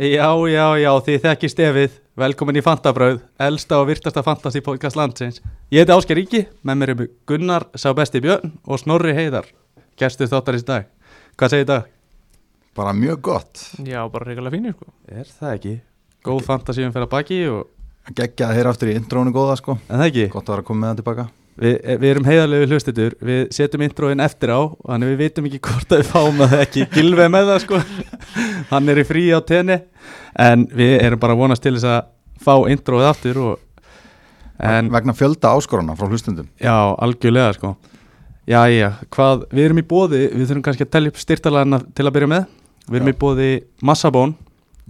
Já, já, já, þið þekki stefið, velkomin í Fantabröð, elsta og virtasta fantasy podcast landsins. Ég heiti Ásker Ríki, með mér eru Gunnar, sá besti Björn og Snorri Heiðar, gestur þáttarins í dag. Hvað segir dag? Bara mjög gott. Já, bara regalega fínir sko Er það ekki? Góð fantasíum fyrir að baki og... Gekkja að heyra aftur í intrónu góða sko. En það ekki? Gott að vera að koma með það tilbaka. Við, eh, við erum heiðarlegu hlustetur, við setjum introin eftir á, þannig við vitum ekki hvort að við fáum að ekki gilve með það sko. Hann er í frí á tenni, en við erum bara að vonast til þess að fá introið aftur og... En Vegna fjölda áskoruna frá hlustundum. Já, algjörlega sko Jæja, hvað, við erum í bóði Við þurfum kannski að telja upp styrtalæðina til að byrja með Við erum Já. í bóði Massabón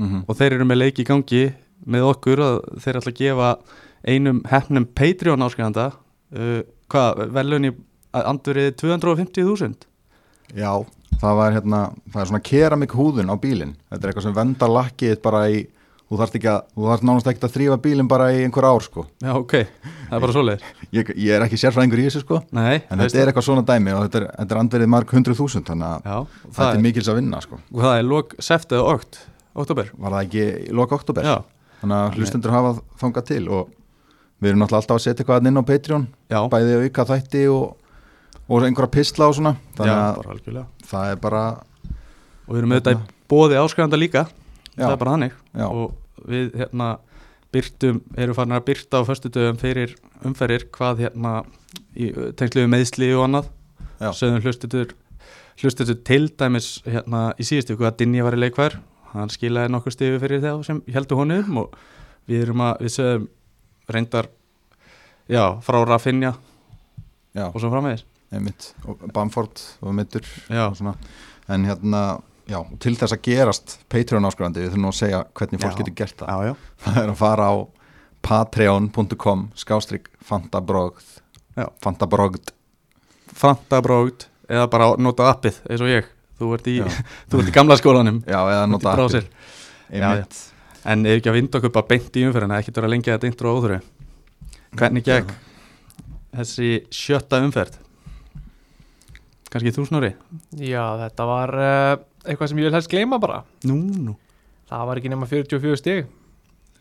Mm og þeir eru með leik í gangi með okkur að þeir ætla að gefa einum hefnum Patreon áskrifanda uh, hvað, velun í andurið 250.000 Já, það var hérna, það er svona keramik húðun á bílinn. Þetta er eitthvað sem vendar lakkið bara í, þú þarft ekki að, þú þarft nánast ekki að þrýfa bílinn bara í einhver ár sko. Já, ok, það er bara svoleiðir Ég, ég er ekki sérfræðingur í þessu sko. Nei, En þetta er eitthvað svona dæmi og þetta er, þetta er andverið marg hundruð þúsund, þannig að Já, þetta það er er, mikils að vinna sko. og það er lok seftið og okt, oktober Var það ekki í loka oktober? Já, Þannig að hlustundur hafa þangað til og við erum náttúrulega alltaf að setja eitthvað þarna inn á Patreon já, bæði auka þætti og, og einhverja pistla og svona já þannig að bara algjörlega það er bara og við erum auðvitað í bóði áskrifanda líka Já. það er bara hannig Já. og við hérna byrtum, erum farin að byrta á föstudöfum fyrir umferðir hvað hérna í tengslu við meðsli og annað Já. sögðum hlustutur hlustutur til dæmis hérna í síðustu ykkur að Dinja var í leikvær hann skilaði nokkur stifu fyrir þá sem heldur honum um og við erum að við sögðum reyndar já, frá Rafinha já, og svo framvegis einmitt, og Bamford og mittur já, og svona, en hérna já, til þess að gerast Patreon áskurandi, við þurfum nú að segja hvernig fólk Já. getur gert það, já, já. það er að fara á patreon.com skástrík fantabrogð Já. fantabrogð, fantabrókt eða bara nota appið eins og ég þú ert í, Já. þú ert í gamla skólanum já, Þú eða ert í nota browser. appið. einmitt, en ef ekki að vinda okkur bara beint í umferðina ekkert vera lengi að þetta intro áþurri hvernig gegn þessi sjötta umferð kannski þú snori Já, þetta var uh, eitthvað sem ég vil helst gleyma bara nú, nú. Það var ekki nema 44 stig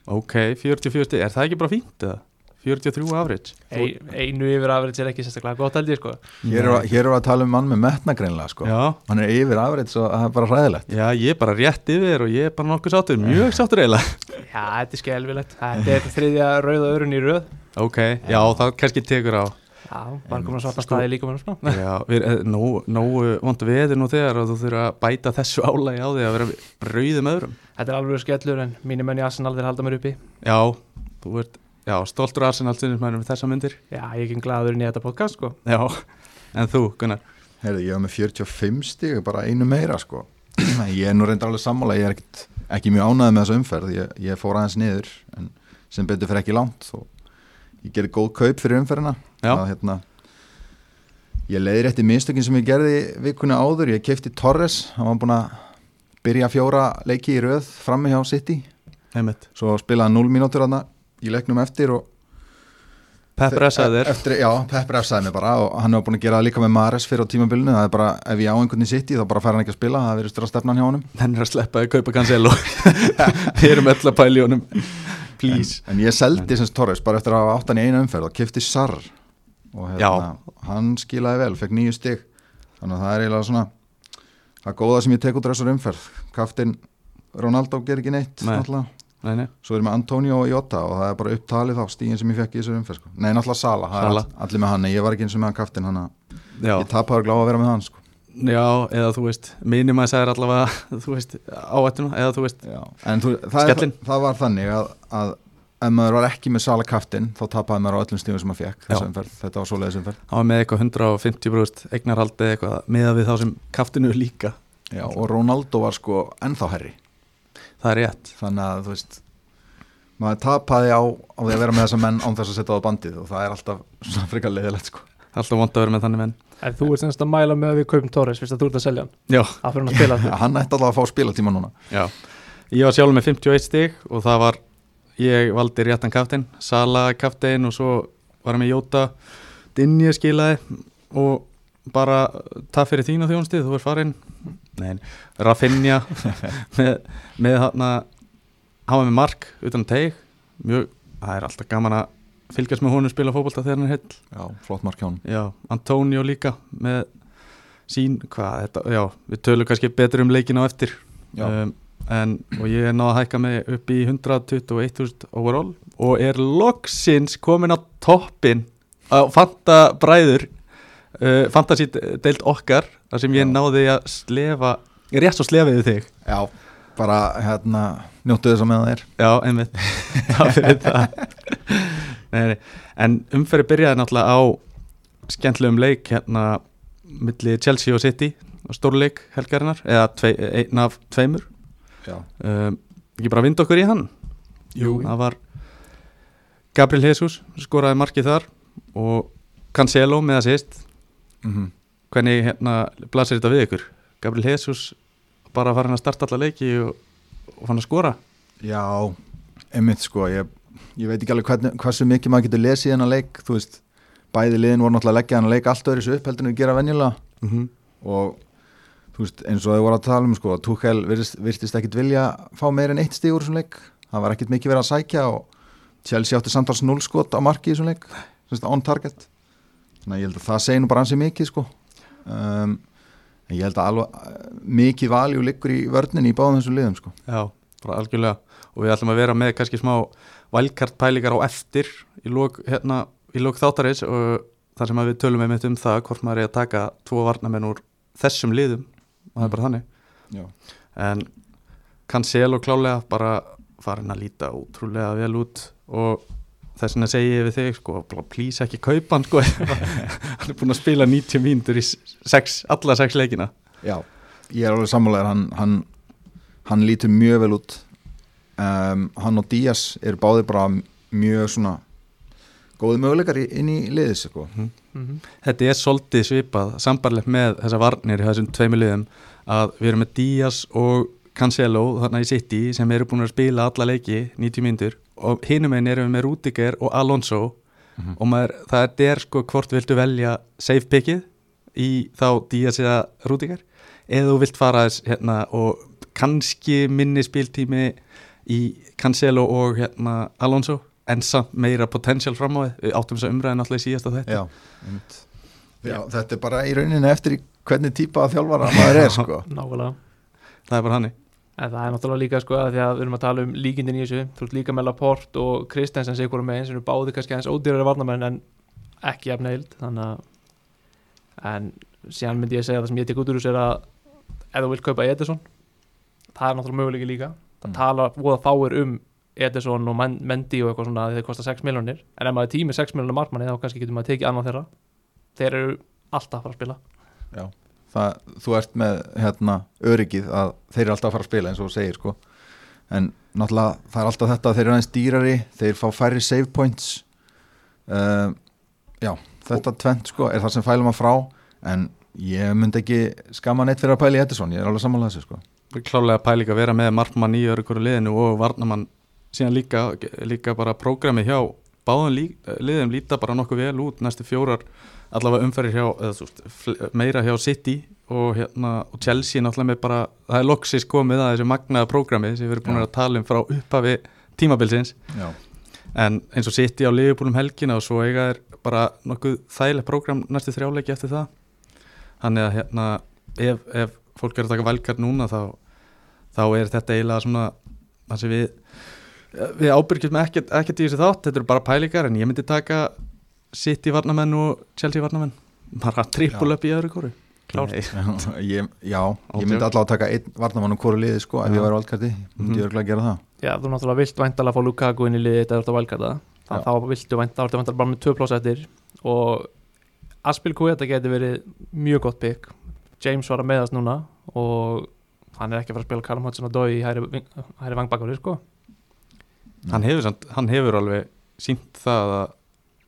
ok, 44 stig, er það ekki bara fínt eða? 43 average Ei, Einu yfir afrið er ekki sérstaklega gott held ég sko hér eru hér erum við að tala um mann með metnagreinlega sko, já, hann er yfir afrið svo það er bara hræðilegt já, ég er bara rétt yfir og ég er bara nokkuð sáttur, mjög sáttur eiginlega Já, þetta er skelvilegt Þetta er þriðja rauða örun í röð ok, já, það kannski tekur á Já, var komin að svarta staði líka mann sko. Já, við erum nógu, nógu vond veður nú þegar og þú þurfa að bæta þessu álægi á því að vera rauðum öðrum. Þetta er alveg skellur en mínu menn í Arsenal þeir halda mér uppi Já, þú ert, já, stoltur Arsenal sinnismænum við þessa myndir. Já, ég er ekki glæður inn í þetta podcast sko Já, en þú, Gunnar. Heyrðu, ég var með 45 stíg, bara einu meira sko. Ég er nú reyndar alveg sammála, ég er ekkit, ekki mjög ánæðið með þessu umferð, ég, ég fór aðeins niður, en sem betur fyrir ekki langt og ég gerði góð kaup fyrir umferðina. Já. Að, hérna, ég leiði rétti mistökin sem ég gerði vikunni áður, ég kefti Torres, hann var búin að byrja fjóra leiki í röð frammi hjá City, Einmitt. svo spilaði 0 mínútur þarna í leiknum eftir og Pep E- pressaði þér. eftir, Já, Pep refsaði mig bara og hann hefur búin að gera það líka með Mares fyrir á tímabilinu það er bara, ef ég á einhvern í City þá bara fær hann ekki að spila það verður störa stefnan hjá honum Hann er að sleppa að kaupa Cancelo. Við erum öll að pæla í honum. Please. en ég seldi semst Torres bara eftir að hafa átt hann í eina umferð og kefti Sar og hérna, Já. hann skilaði vel, fekk nýju stig þannig að það er eiginlega svona það góða sem ég tek út úr þessar umferð kaftin Ronaldo ger ekki neitt Nei. náttúrulega. Nei, nei. svo erum við Antonio og Jota og það er bara upptalið þá stíðin sem ég fekk í þessar umferð sko. nei, náttúrulega Sala, það er Sala. all- allir með hann nei, ég var ekki eins og með hann kaftin hann að Já, ég tapaður glá að vera með hann sko. já, eða þú veist, minimæsaðir allavega, þú veist, áættuna, eða þú veist, Já, en þú, það, er, Skellin. það var þannig að, að ef maður var ekki með sala kaftin þá tapaði maður á öllum stífum sem maður fekk Já. þessa umferð, þetta var svoleiðis umferð á með eitthvað 150 brúst, eignarhaldi eitthvað, meða við þá sem kaftinu líka. Já, og Ronaldo var sko ennþá herri Það er rétt. þannig að þú veist maður tapaði á, á því að vera með þessa menn án þess að setja á bandið og það er alltaf svona frekar leiðilegt sko Alltaf vond að vera með þannig menn En þú ert semst að mæla með að við kaupum Torres fyrst að þú ert að selja hann Já, Það fyrir hann að spila ja, þetta Hann ætti alltaf að fá spilatíma núna já Ég var sjálf með 51 stig og það var ég valdi réttan kaftin Sala kaftin og svo var ég með Jóta Dinja skilaði og bara taf fyrir þína þjónstið, þú er farinn Nei, Rafinha með, með hana hann var með mark utan um teig mjög, það er alltaf gaman að fylgjast með honum spila fótbolta þegar hann er heill já, flott mark hjá hann Já, Antonio líka með sín, hvað, þetta, já, við tölum kannski betur um leikin á eftir já, Um, en, og ég er náða að hækka mig upp í 121.000 overall og er loksins komin á toppin á Fanta bræður uh, Fantasí deilt okkar þar sem ég Já. náði að slefa rétt svo slefiði þig já bara hérna, njóttu þess að með það er Já, einmitt Það fyrir það nei, nei. En umferði byrjaði náttúrulega á skemmtilegum leik hérna milli Chelsea og City og stórleik helgarinnar eða tvei, einn af tveimur já, um, ekki bara vind okkur í hann Jú. það var Gabriel Jesus skoraði markið þar og Cancelo með að sýst mm hvernig hérna blasir þetta við ykkur Gabriel Jesus bara farin að starta alla leiki og, og fann að skora Já, einmitt sko ég, ég veit ekki alveg hvern, hversu mikið maður getur lesið hennar leik, þú veist bæði liðin voru náttúrulega að leggja hennar leik allt öðru upp heldur en við gera venjulega mm og þú veist, eins og þau voru að tala um sko, Tuchel virtist, virtist ekkit vilja fá meir en eitt stig úr þessum leik það var ekkit mikið verið að sækja og Chelsea átti samtals 0 skot á marki í þessum leik þú veist, on target þannig að ég held að það segi nú bara ansi mikið sko um, en ég held að alveg, eh, mikið valjú liggur í vörninni í báðum þessum liðum sko Já, bara algjörlega og við ætlum að vera með kannski smá valkart pælingar á eftir í lók, hérna, í lók þáttarins og þar sem að við tölum einmitt um það hvort maður er að taka tvo varnamenn úr þessum liðum og það er bara þannig Já. en Cancel og klálega bara farin að líta útrúlega vel út og þess vegna segi ég við þig sko, bara please ekki kaupa hann sko hann er búin að spila 90 mínútur í sex, alla sex leikina Já, ég er alveg sammálaður hann, hann, hann lítur mjög vel út um, hann og Díaz er báðir bara mjög svona góði möguleikar í- inn í liðis sko. Mhm. þetta er svolítið svipað sambarlegt með þessa varnir í þessum tveimu liðum að við erum með Díaz og Cancelo þarna í City sem eru búin að spila alla leiki 90 myndur og hinum einn erum við með Rudiger og Alonso Mhm. og maður, það er sko hvort viltu velja safe pickið í þá Díaz eða Rudiger eða þú vilt fara þess hérna og kannski minni spiltími í Cancelo og hérna Alonso en samt meira potential fram á þið, við áttum þess að umræðin alltaf í síðasta þetta Já, einmitt. Já, þetta er bara í rauninni eftir í hvernig típa að þjálfara maður er sko. nákvæmlega það er bara hannig En það er náttúrulega líka sko að því að við erum að tala um líkindin í þessu, þú ert líka með Laporte og Kristensen sig hvora meginn sem eru báði kannski aðeins ódýrari varnamenn en ekki jafn eild þannig að en síðan myndi ég segja að það sem ég tek út úr þessu er að ef þú vilt kaupa Edison það er náttúrulega möguleiki líka það Mm. tala voða fáir um Edison og Men- Mendy og eitthvað svona að þeir kosta 6 miljonir en ef maður er tími 6 miljonar markmanni þá kannski getur maður tekið annað þeirra þeir eru alltaf að fara að spila það, þú ert með hérna, öryggið að þeir eru alltaf að fara að spila eins og þú segir sko. en náttúrulega það er alltaf þetta að þeir eru aðeins dýrari þeir fá færri save points uh, já, þetta tvent sko, er það sem fælum að frá en ég myndi ekki skamma neitt fyrir að pæla í Edison, ég er alveg sammála þessu sko. klálega pæling að vera með markmann í örugur liðinu og varnamann síðan líka, líka bara prógrami hjá báðum lí, liðum líta bara nokkuð vel út næstu fjórar allavega umferðir hjá eða, þú, veist, fl- meira hjá City og, hérna, og Chelsea náttúrulega með bara það er loksis komið að þessu magnaða prógrami sem við erum búin Já. að tala um frá upphafi tímabilsins já, en eins og City á liðbúlum helgina og svo eiga er bara nokkuð þægilegt prógram næstu þrjáleiki eftir það þannig að hérna ef, ef fólk er að taka valkar núna þá, þá er þetta eiginlega svona það sem við við ábyrgjum ekkert, ekkert í þessu þátt þetta eru bara pælingar en ég myndi taka City varnamenn og Chelsea varnamenn bara trippul Já. upp í öðru kóru Klárt. Nei. ég, já, ég myndi alltaf að taka einn varnamann um hvori liði sko, ef Já. ég væri valkarti myndi Mhm. ég örgulega að gera það Já, þú náttúrulega vilt væntalega fá Lukaku inn í liðið þetta eftir að valkata Já. þannig þá viltu væntalega, þá ertu væntalega bara með 2 pláss eftir og Aspil Kueta geti verið mjög gott pick James var að meðast núna og hann er ekki að fara að spila Callum Hudson og Dói í hæri, ving- hæri vangbakari sko hann hefur, samt, hann hefur alveg sínt það að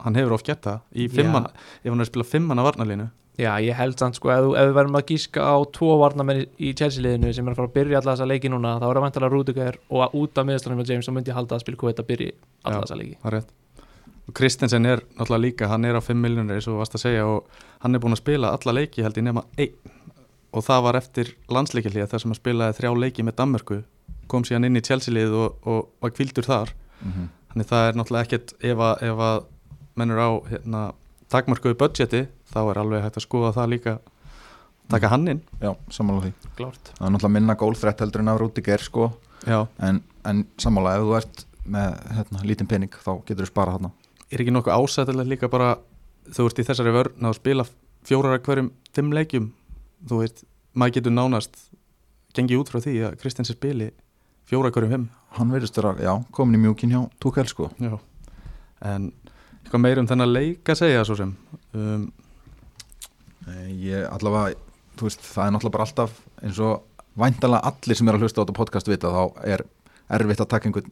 hann hefur oft gert það í Já. fimmann ef hann er að spila fimmann á varnalínu Já, ég held samt sko, ef, þú- ef við verðum að gíska á tvo varnamenn í- í Chelsea liðinu sem er að fara að byrja alla þessa leiki núna þá er að væntalega Rudiger og að út af meðastunum með James þá myndi ég halda að Aspil Kueta byrji alla Já. þessa leiki það er rétt og Kristensen er náttúrulega líka, hann er á 5 miljonir eins og þú varst að segja og hann er búin að spila alla leiki held ég nema einn og það var eftir landsleikilíða þar sem hann spilaði þrjá leiki með Danmörku kom síðan inn í Chelsea-lið og, og var kvildur þar mm -hmm. þannig það er náttúrulega ekkert ef að, ef að mennur á hérna, takmarkuðu budgeti þá er alveg hægt að skoða það líka taka hann inn Já, sammála því klárt Það er náttúrulega minna gólþrætt heldur en að rúti ger sko Já, en, en sammála ef þú ert með hérna, lítinn pening þá getur þú sparað þarna er ekki nokkuð ásættilega líka bara þú ert í þessari vörn að spila fjórar af hverjum fimm leikjum þú veist, maður getur nánast gengið út frá því að Kristins spili fjórar af hverjum fimm Hann verðist vera, já, komin í mjúkin hjá Túkel sko Já. en eitthvað meir um þennan leik að segja svo sem um, Nei, Eh, Ég allavega, þú veist, það er náttúrulega bara alltaf eins og væntalega allir sem er að hlusta á þetta podcast vita þá er erfitt að taka einhvern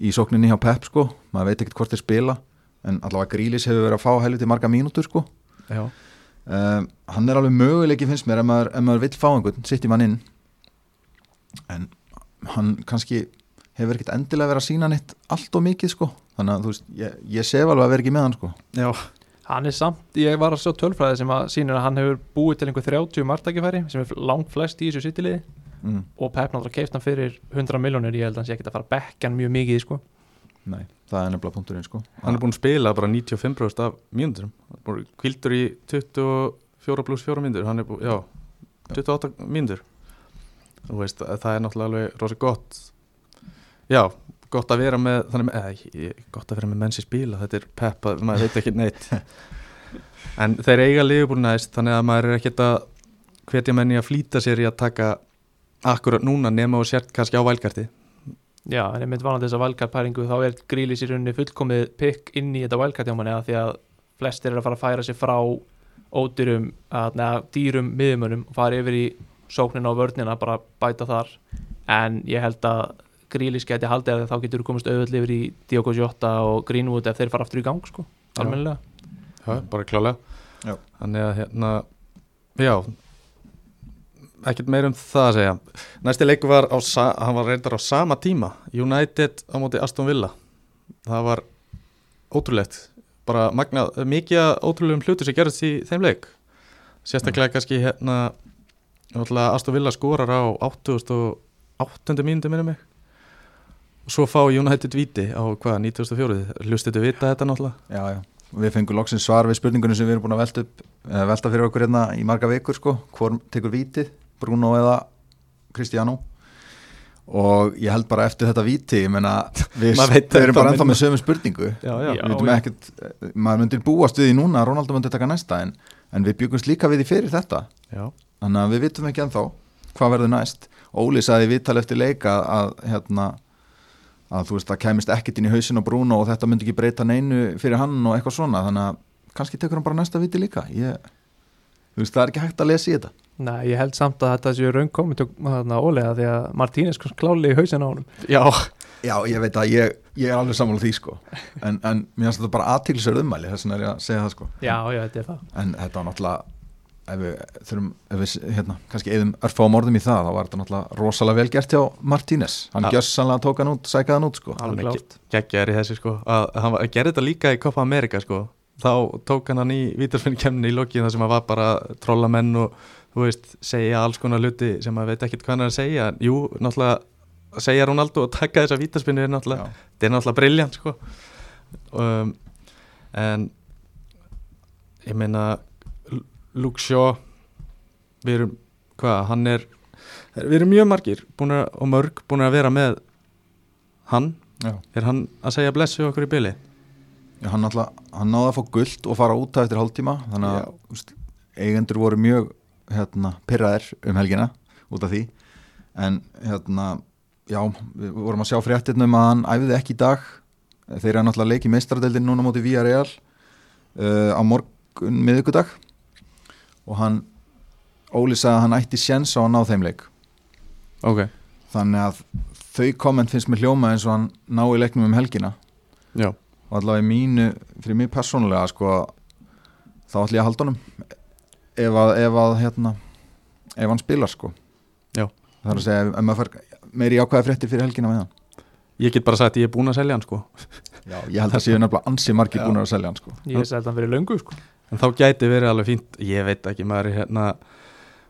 í sókninni hjá Pep sko, maður veit ekkert hvort þeir spila en allavega Grílis hefur verið að fá helviti marga mínútur sko já, um, hann er alveg möguleiki finnst mér ef maður, ef maður vill fá einhvern, sitt í mann inn en hann kannski hefur ekkert endilega verið að sína nýtt allt og mikið sko þannig að þú veist, ég, ég sef alveg að vera ekki með hann sko já, Hann er samt, ég var að sjá tölfræði sem að sýnir að hann hefur búið til einhver 30 margtækifæri sem er langt flest í þessu sittiliði mm, og Pep náttúrulega keift hann fyrir 100 miljónir, ég held að hann sé ekki að fara að bekka hann mjög mikið í, sko. nei, það er nefnilega punkturinn sko hann er búin að spila bara 95% af mínúndurum kvildur í 24 pluss 4 mínúndur hann er búin, já, 28 mínúndur þú veist, að það er náttúrulega alveg rosa gott já, gott að vera með þannig, eða, ég- gott að vera með mennsi spila þetta er peppa, maður veit ekki neitt en þeir eiga liðbúl næst þannig að maður er ekkert að hvetja menn í að flýta sér í að taka akkurat núna nema og sért kannski á vælkarti Já, en einmitt vanandi þessa valkarpæringu þá er grílis í rauninni fullkomið pikk inn í þetta valkartjámanni að því að flestir eru að fara að færa sig frá ódýrum, að, neða, dýrum miðumönum og fara yfir í sóknina og vörnina bara bæta þar en ég held að grílis geti haldið að þá getur þú komist auðvöld yfir í Diogo Jota og Greenwood ef þeir fara aftur í gang sko, Já. almennilega Já, bara klálega Já. Þannig að hérna Já ekkert meir um það að segja Næsti leikur var á, sa- hann var reyndar á sama tíma United á móti Aston Villa Það var ótrúlegt bara magna, mikið af ótrúlegum hlutu sem gerðist í þeim leik Sérstaklega kannski hérna náttúrulega Aston Villa skorar á 88. mínútu minni mig og svo fá United víti á hvað, 94. Hlustið þetta vita þetta náttúrulega já, já. við fengum loksins svar við spurningunum sem við erum búin að velta, upp, eða velta fyrir okkur hérna í marga vikur sko, hvor tekur vítið Bruno eða Cristiano og ég held bara eftir þetta víti, ég meina við, Maður veit við erum þetta minna. bara ennþá með sömu spurningu Já, já. við veitum ekkert, eh, maður myndir búast við því núna að Ronaldo myndir taka næsta en, en við byggumst líka við því fyrir þetta Já, þannig að við vitum ekki ennþá hvað verður næst Óli saði viðtal eftir leika að, hérna, að þú veist það kæmist ekkert inn í hausin og brún og þetta myndi ekki breyta neinu fyrir hann og eitthvað svona þannig að kannski tekur hann bara næsta viti líka ég, þú veist það er ekki hægt að lesa í þetta Nei, ég held samt að þetta séu raung komið tök þarna ólega því að Martínez kom kláli í hausin á honum já, Já, ég veit að ég, ég er alveg sammála því sko en, en mér finnst þetta bara aðtilsverð ummæli þess vegna er ég að segja það sko Já, já, þetta er það en þetta var náttúrulega ef við þurfum, ef við hérna, kannski eðum örfáum orðum í það, þá var þetta náttúrulega rosalega vel gert hjá Martínez, Ja. hann ja. gjössanlega tók hann út, sækaði hann út sko Hann er Alveg klárt geggjaður í þessu sko að hann var, gerði þetta líka í Copa America sko þá tók hann hann í vítarfinn kemni í lokin þar sem hann var bara að trolla menn og þú veist, segja alls konar hluti sem maður veit ekkert hvað hann er að segja en jú, náttúrulega segja Ronaldo að taka þessa vítarspinnu er náttúrulega, Já. þetta er náttúrulega briljant sko um, en ég meina Lu- Luke Shaw við erum, hvað, hann er við erum mjög margir búnir, að- og mörg búin að vera með hann Já. Er hann að segja blessu okkur í byli? Já, hann náttúrulega, hann náði að fá gullt og fara út af eftir hálftíma, þannig að þú veist, eigendur voru mjög hérna, pyrraðir um helgina út af því en hérna já, við vorum að sjá fréttirnum að hann æfiði ekki í dag, þeir eru náttúrulega leik í meistradeldin núna móti VRL uh, á morgun miðugudag og hann Óli sagði að hann ætti séns á að ná þeim leik Ok, þannig að þau komment finnst mér hljóma eins og hann ná í leiknum um helgina já, og allavega í mínu, fyrir mig persónulega sko, þá ætlum ég að halda honum ef að, ef að hérna, ef hann spilar sko Já. það er að segja, ef, ef maður fær meiri ákvæða fréttir fyrir helgina með hann ég get bara sagt að ég er búin að selja hann sko já, ég held að séu nefnilega ansi margir Já. búin að selja hann sko Ég held að hann verið löngu sko En þá gæti verið alveg fínt, ég veit ekki, maður er hérna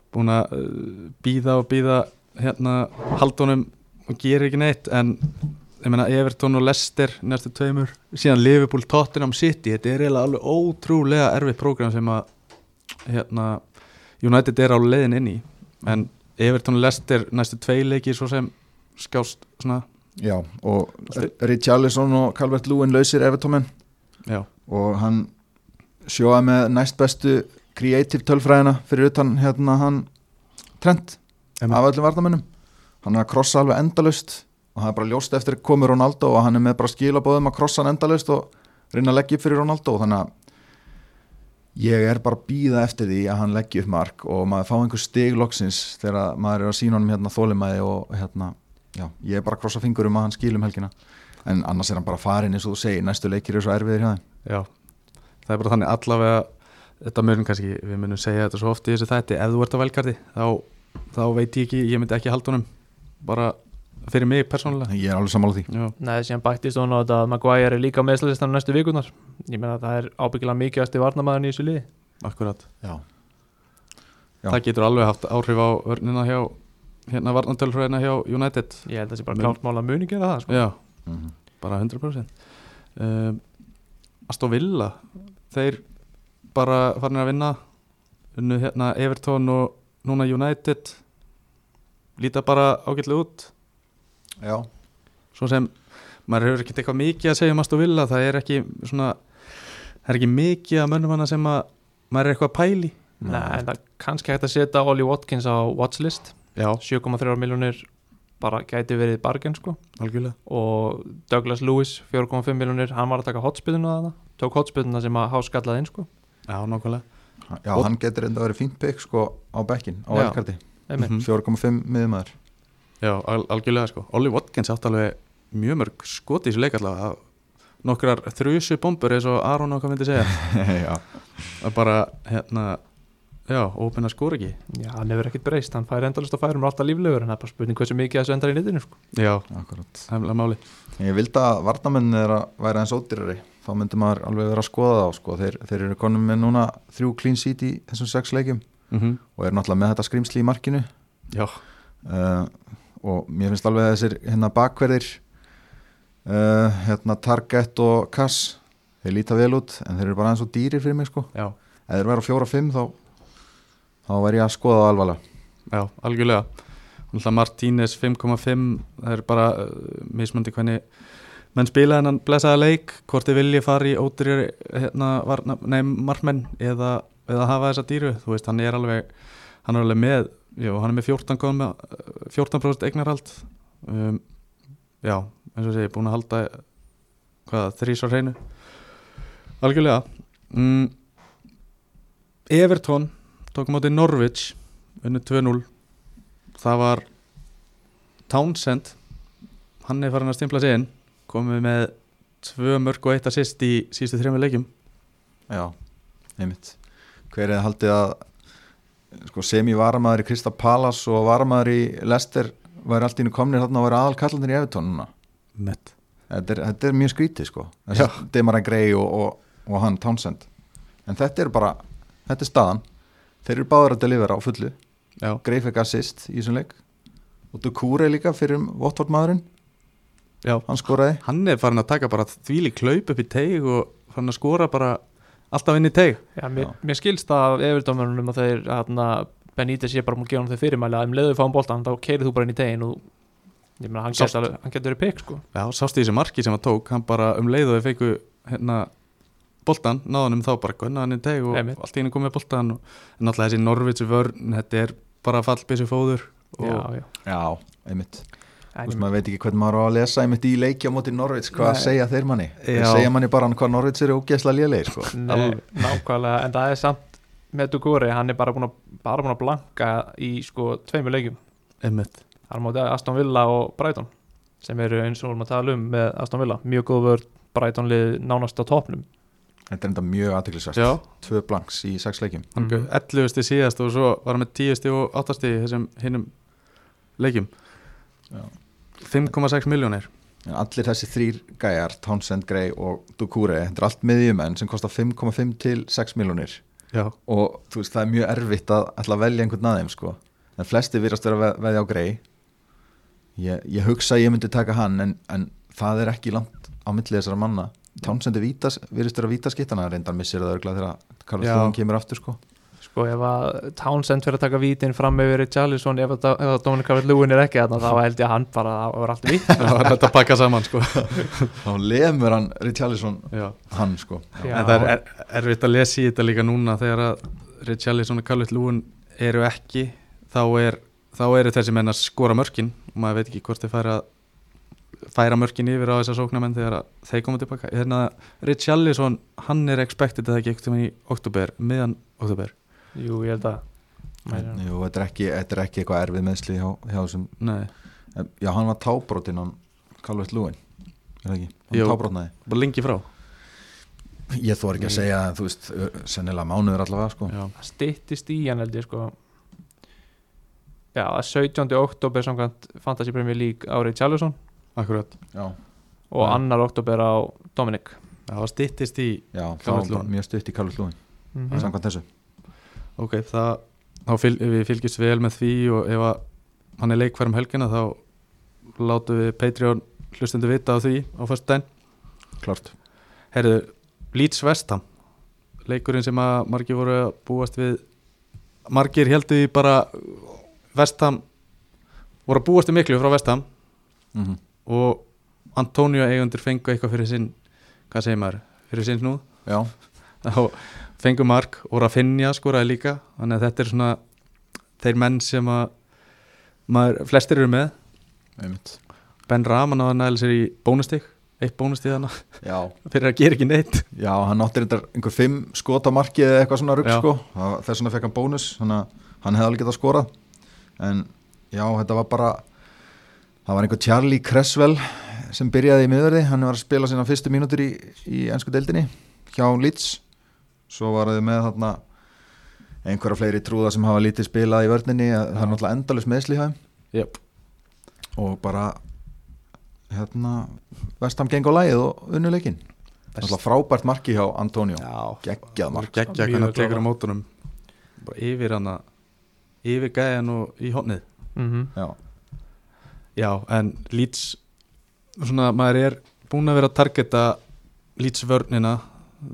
búin að uh, býða og býða hérna haldunum og gerir ekki neitt en ég meina Everton og Leicester næstu tveimur, síðan Liverpool, Tottenham City, þetta er eiginlega alveg ótrúlega erfið prógram sem að hérna, United er á leiðin inn í en Everton og Leicester næstu tvei leikir svo sem skjást svona, Já, og Richarlison og Calvert Lúin lausir Evertómen já, og hann sjóða með næst bestu creative tölfræðina fyrir utan hérna hann Trent Emmitt. af öllum varnamönnum hann er að krossa alveg endalaust og það er bara ljóst eftir komur Ronaldo og hann er með bara skilabóðum að krossa hann endalaust og reyna að leggja upp fyrir Ronaldo þannig að ég er bara að býða eftir því að hann leggja upp mark og maður fá einhver stig loksins þegar að maður er að sína honum hérna þólimæði og hérna, já, ég er bara að krossa fingur um að hann skilum helgina en annars er hann bara farin eins og þú segir, næstu leikir er svo erfiðir hjá þeim já það er bara þannig allavega þetta munum kannski, við munum segja þetta svo oft í þessu þætti, ef þú ert á velkarti þá, þá veit ég ekki, ég myndi ekki halda honum bara fyrir mig persónulega Ég er alveg sammála því já, Nei, síðan bættist hún á þetta að Maguire er líka meðslæðistan næstu vikunar Ég meina að það er ábyggilega mikilvægasti varnamaðurinn í þessu liði akkurat Já, Já. það getur alveg haft áhrif á vörnina hjá hérna varnantölfræðina hjá United Ég held að það sé bara Men- klárt mál að muni gera það sko. já, mm -hmm. bara 100% um, Aston Villa þeir bara farin að vinna unnu hérna Everton og núna United líta bara ágætlega út Já. svo sem maður hefur ekkert eitthvað mikið að segja um Aston Villa það er ekki svona það er ekki mikið að mönnum hana sem að maður er eitthvað að pæli Nei, en það er kannski hægt að setja Ollie Watkins á watchlist já, 7,3 miljónir bara gæti verið bargain sko algjörlega og Douglas Lewis 4,5 miljónir hann var að taka hotspilluna þarna tók hotspilluna sem að háskallaði inn sko já, nákvæmlega Já, Og- hann getur enda að vera fínt pikk sko á bekkin, á Já. elkarti Einmitt. Mhm. 4,5 miðumæður Já, al algjörlega sko. Olli Watkins átt alveg mjög mörg skoti í þessu leik allavega. Nokkrar þrjusu bombur eins og Aron okkar myndi segja. Já, Það bara, hérna, já, ópenna skóri ekki. Já, hann hefur ekkert breyst, hann fær um endalist og færum alltaf líflegur en það er bara spurning hversu mikið þessu endar í nýttinu sko. Já, akkurat það er alveg máli. Ég vildi að varnamenn er að væra eins ódýrari þá myndi maður alveg vera að skoða þá sko. þeir, þeir eru konum með núna þrjú clean seat í þessum sex leikjum Mm og eru náttúrulega með þetta skrýmsli í markinu Já, uh, og mér finnst alveg að þessir hérna bakverðir uh, hérna Target og Kass þeir líta vel út en þeir eru bara aðeins og dýrir fyrir mig sko já, ef þeir væri á fjóra fimm þá þá væri ég að skoða það alvarlega já, algjörlega. Náttúrulega Martínez 5,5, það er bara uh, mismöndi hvernig menn spila hennan blessaða leik, hvort þið vilji fara í ódýrjari, hérna, varna, nei, markmenn eða, eða hafa þessa dýru. Þú veist, hann er alveg, hann er alveg með, já, hann er með 14, koma- 14% eignarhald. Um, já, eins og sé, ég er búin að halda, hvað, þrísar hreinu. Algjörlega. Mm, Everton tók á móti Norwich, unnu 2-0. Það var Townsend, hann er farin að stimpla sig inn komið með tvö mörg og eitt assist í síðustu þrejum leikjum já, einmitt hver er haldið að sko, semi varamaður í Krista Palas og varamaður í Lester væri allt í nú komnir þarna að vera aðal kallandir í Evertón núna Mett. þetta er, þetta er mjög skrítið sko Þessi Demaran Grey og, og, og hann Townsend en þetta er bara, þetta er staðan þeir eru báður að delivera á fullu Já, Grey fekk assist í þessum leik og Dukure líka fyrir um Votvort maðurinn já hann skoraði Hann er farin að taka bara þvíli klaup upp í teig og farin að skora bara alltaf inn í teig Já, mér, Já. mér skilst af yfirdómörunum að þeir hana, Benítez ég bara múið að gefa hann þau fyrirmæli að um leiðu fáum boltan þá keirið þú bara inn í tegin og ég meina hann Sást. getur alveg- hann getur verið pikk sko. Já, sástu í þessi marki sem hann tók hann bara um leið og þau feiku hérna boltan, náðanum þá bara gunna hann í teig og Einmitt. allt í henni komið boltan og en alltaf þessi Norvitsu vörn, þetta er bara fallbissu fóður og Já, já. já, einmitt Þú En, veist, maður veit ekki hvernig maður á að lesa einmitt í leikja móti Norvits, hvað Nei. segja þeir manni þeir Já. segja manni bara hann hvað Norvits eru ógeðslega lélegir sko. nei, nákvæmlega, en það er samt með Duguri, hann er bara búin að, bara búin að blanka í sko tveimur leikjum einmitt hann móti Aston Villa og Brighton sem eru eins og við erum að tala um með Aston Villa mjög góð vörð, Brighton lið nánast á topnum þetta er enda mjög aðteklisvært Já, tvö blanks í sex leikjum hann Mhm. mm. 11 stið síðast og svo var hann með 10 stið og 8 stið í þessum hinnum leikjum Já. 5,6 miljónir en allir þessi þrýr gæjar, Townsend, Gray og Dukure, þetta er allt miðjumenn sem kostar 5,5 til 6 miljónir Já, og þú veist, það er mjög erfitt að ætla að velja einhvern aðeim sko. en flesti virðast vera að ve- veðja á Gray ég, ég hugsa að ég myndi taka hann en, en það er ekki langt á milli þessara manna Townsend er vítas, virðist vera vítaskittana reyndar missir það örgla þegar Karl Já. Stúðan kemur aftur sko Sko ef að Townsend fyrir að taka vítin fram yfir Richarlison ef að Da- ef að Dominic Calvert-Lewin er ekki þarna þá held ég að hann bara það var allt vítt það var þetta að pakka saman sko þá lemur hann Richarlison Já. hann sko Já. en það er er, erfitt að lesa í þetta líka núna þegar að Richarlison og Calvert Lúin eru ekki þá, er, þá eru þessi menn að skora mörkin og maður veit ekki hvort þeir færa færa mörkin yfir á þessa sóknamenn þegar að þeir koma tilbaka þannig að Richarlison, hann er expected að það gekk til í oktober, miðan oktober Jú, ég held að en, jú, þetta, er ekki, þetta er ekki eitthvað erfið meðsli hjá, hjá þessum nei, en, já, hann var tábrotinn hann Calvert Lúin er það ekki, hann Jú. tábrotnaði bara lengi frá ég þó ekki að segja, þú veist, ö- sennilega mánuður allavega sko Já. það styttist í hann held ég sko Já, að 17. oktober samkvæmt Fantasy Premier League á Richarlison akkurat, já, og Já. annar oktober á Dominic það var styttist í já það var Calvert-Lewin. bara mjög stutt í Calvert Lúin Mhm. mm samkvæmt þessu ok, það, þá fyl, við fylgjumst vel með því og ef að hann er leikfærum helgina þá látum við Patreon hlustundu vita á því á fyrstu dæn klart Herðu, Leeds Vestham leikurinn sem að margir voru að búast við margir heldur því bara Vestham voru að búast við miklu frá Vestham mm og Antonio eigundur fengu eitthvað fyrir sinn hvað segir maður, fyrir sinn snúð já, þá fengu mark og Rafinha skoraði líka þannig að þetta er svona þeir menn sem að maður, flestir eru með einmitt Ben Raman á að næla sér í bónustík eitt bónustík hana já, fyrir að gera ekki neitt Já, hann átti reyndar einhver fimm skot á markið eða eitthvað svona rugg Já. sko Það- þess vegna fekk hann bónus þannig að hann hefði alveg getað skorað en já, þetta var bara það var einhver Charlie Cresswell sem byrjaði í miðverði, hann var að spila sína fyrstu mínútur í, í ennsku deildinni hjá Leeds svo var þau með þarna einhverja fleiri trúða sem hafa lítið spilað í vörninni það er náttúrulega endalus meðsli hjá þeim yep. og bara hérna, vestam geng á lægið og unnuleikin Best. Alltaf frábært marki hjá Antonio já, geggjað mark geggja Mjög hvernig hann tekur á glóðar. mótunum bara yfir hana yfir gæjan og í hotnið Mhm. já, já, en Leeds svona, maður er búin að vera að targeta Leeds vörnina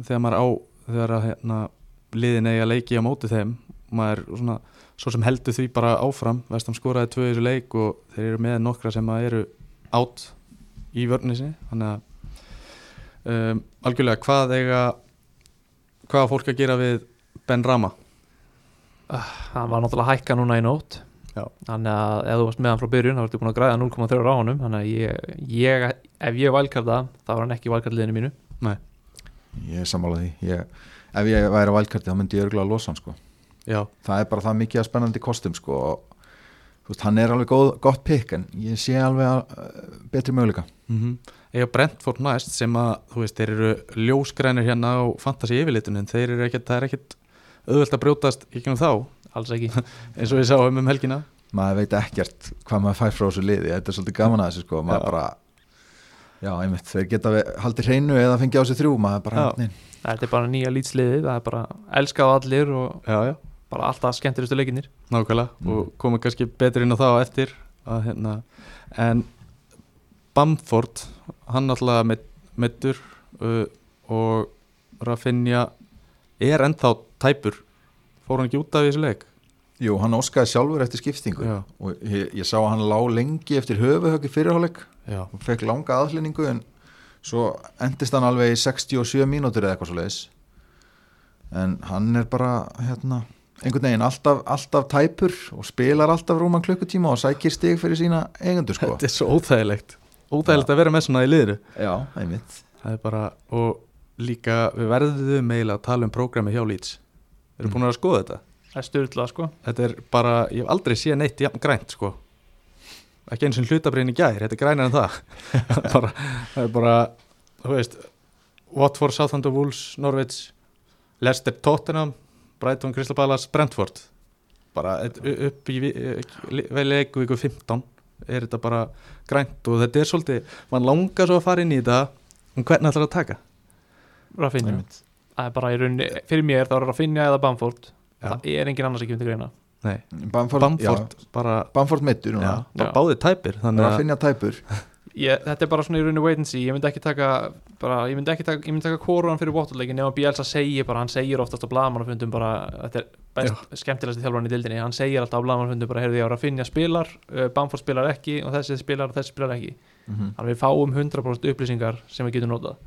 þegar maður á þegar að hérna, liðin eiga leiki á móti þeim maður svona, svo sem heldur því bara áfram vestam skoraði tvö í þessu leik og þeir eru með nokkra sem að eru átt í vörninni sinni þannig að um, algjörlega hvað eiga hvað á fólk að gera við Ben Rama Hann var náttúrulega að hækka núna í nótt Já. Þannig að ef þú varst með hann frá byrjun þá ertu búin að græða 0,3 á honum Þannig að ég, ég, ef ég valkarða þá var hann ekki í valkarliðinu mínu ég er sammála því ég, ef ég væri á valkarti þá myndi ég örgulega að losa hann sko. já, það er bara það mikið að spennandi kostum sko. og, þú veist, hann er alveg góð, gott pikk en ég sé alveg að, uh, betri möguleika Mm -hmm. Eða Brentford næst sem að þú veist, þeir eru ljósgrænir hérna á fantasy yfirlitunin, þeir eru ekkert það er ekkert auðvelt að brjótast í gegnum þá Alls ekki eins og við sáum um helgina maður veit ekkert hvað maður fær frá þessu liði þetta er svolítið gaman að þessu sko. maður Já. bara já, einmitt, þeir geta ve- haldið hreinu eða fengið á sig þrjú maður bara, hérna Já. nei, Þetta er bara nýja lýtsliði, það er bara elskað á allir og Já, já, bara alltaf skemmtilegustu leikinir nákvæmlega Mm. og komum kannski betur inn á það á eftir að, hérna. en Bamford hann alltaf meitt, meittur uh, og Rafinha er ennþá tæpur fór hann ekki út af í þessu leik Jú, hann óskaði sjálfur eftir skiptingu Já, og ég, ég sá að hann lá lengi eftir höfuhöggi fyrirháleik já, og fekk langa aðhlýningu en svo endist hann alveg í 67 mínútur eða eitthvað svo leiðis en hann er bara hérna, einhvern veginn alltaf, alltaf tæpur og spilar alltaf rúman klukkutíma og sækir stig fyrir sína eigendur sko þetta er svo óþægilegt óþægilegt að vera með svona í liðinu Já, einmitt Það er bara, og líka við verðum eiginlega að tala um prógrami hjá Leeds Við erum Mm. búin að skoða þetta Það er styrlað sko Þetta er bara, ég hef aldrei séð neitt jafn grænt sko Ekki eins og hlutabriðin í gær, þetta er grænar en það Það er bara, það er bara, þú veist Watford, Southampton, Wolves, Norwich Leicester, Tottenham Brighton, Crystal Palace, Brentford Bara þetta er upp í eh, leikvíku 15 er þetta bara grænt og þetta er svolítið, mann langar svo að fara inn í þetta en hvernig ætlar að taka? Rafinha, einmitt. það er bara í rauninni fyrir mér þá er Rafinha eða Bamford Já. það er engin annars ekki um til greina Nei, Bamford, Bamford bara já, Bamford meittur núna já, Já. báði tæpir Það þannig er að að finna tæpur ég, þetta er bara svona í rauninu wait and see ég myndi ekki taka bara, ég myndi ekki taka, ég myndi taka korunan fyrir Waterleikin ef að Bielsa segir bara, hann segir oftast á blagamannafundum bara, þetta er best skemmtilegasti þjálfarinn í dildinni, hann segir alltaf á blagamannafundum bara, heyrðu ég ára að finna spilar, uh, Bamford spilar ekki og þessi spilar og þessi spilar ekki Mhm. þannig að við fáum 100% upplýsingar sem við getum notað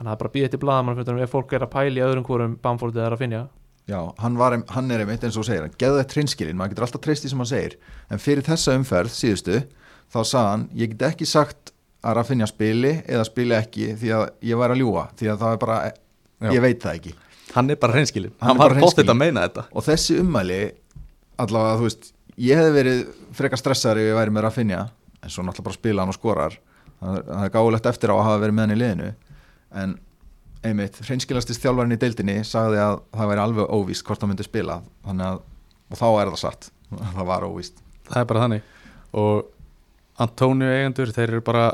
þannig að það er bara býðið til blagamannafundum ef fólk er að pæli öðrum hvorum Bamford eða að finna Já, hann, var, ein- hann er einmitt eins og þú segir hann geða þetta trinskilin, maður getur alltaf treyst því sem hann segir en fyrir þessa umferð síðustu þá sagði hann, ég get ekki sagt að Rafinha spili eða spili ekki því að ég væri að ljúa, því að það er bara Já. ég veit það ekki hann er bara hreinskilin Hann er hann var bara bóttið að hreinskilinn. meina þetta og þessi ummæli allavega, þú veist, ég hefði verið frekar stressaður ef ég væri með Rafinha en svo náttúrulega bara spila hann og skorar það er, það er gáulegt eftir á að hafa verið með hann í liðinu en einmitt, hreinskilastist þjálfarinn í deildinni sagði að það væri alveg óvíst hvort hann myndi spila þannig að, og þá er það satt það var óvíst það er bara þannig og Antonio eigendur, þeir eru bara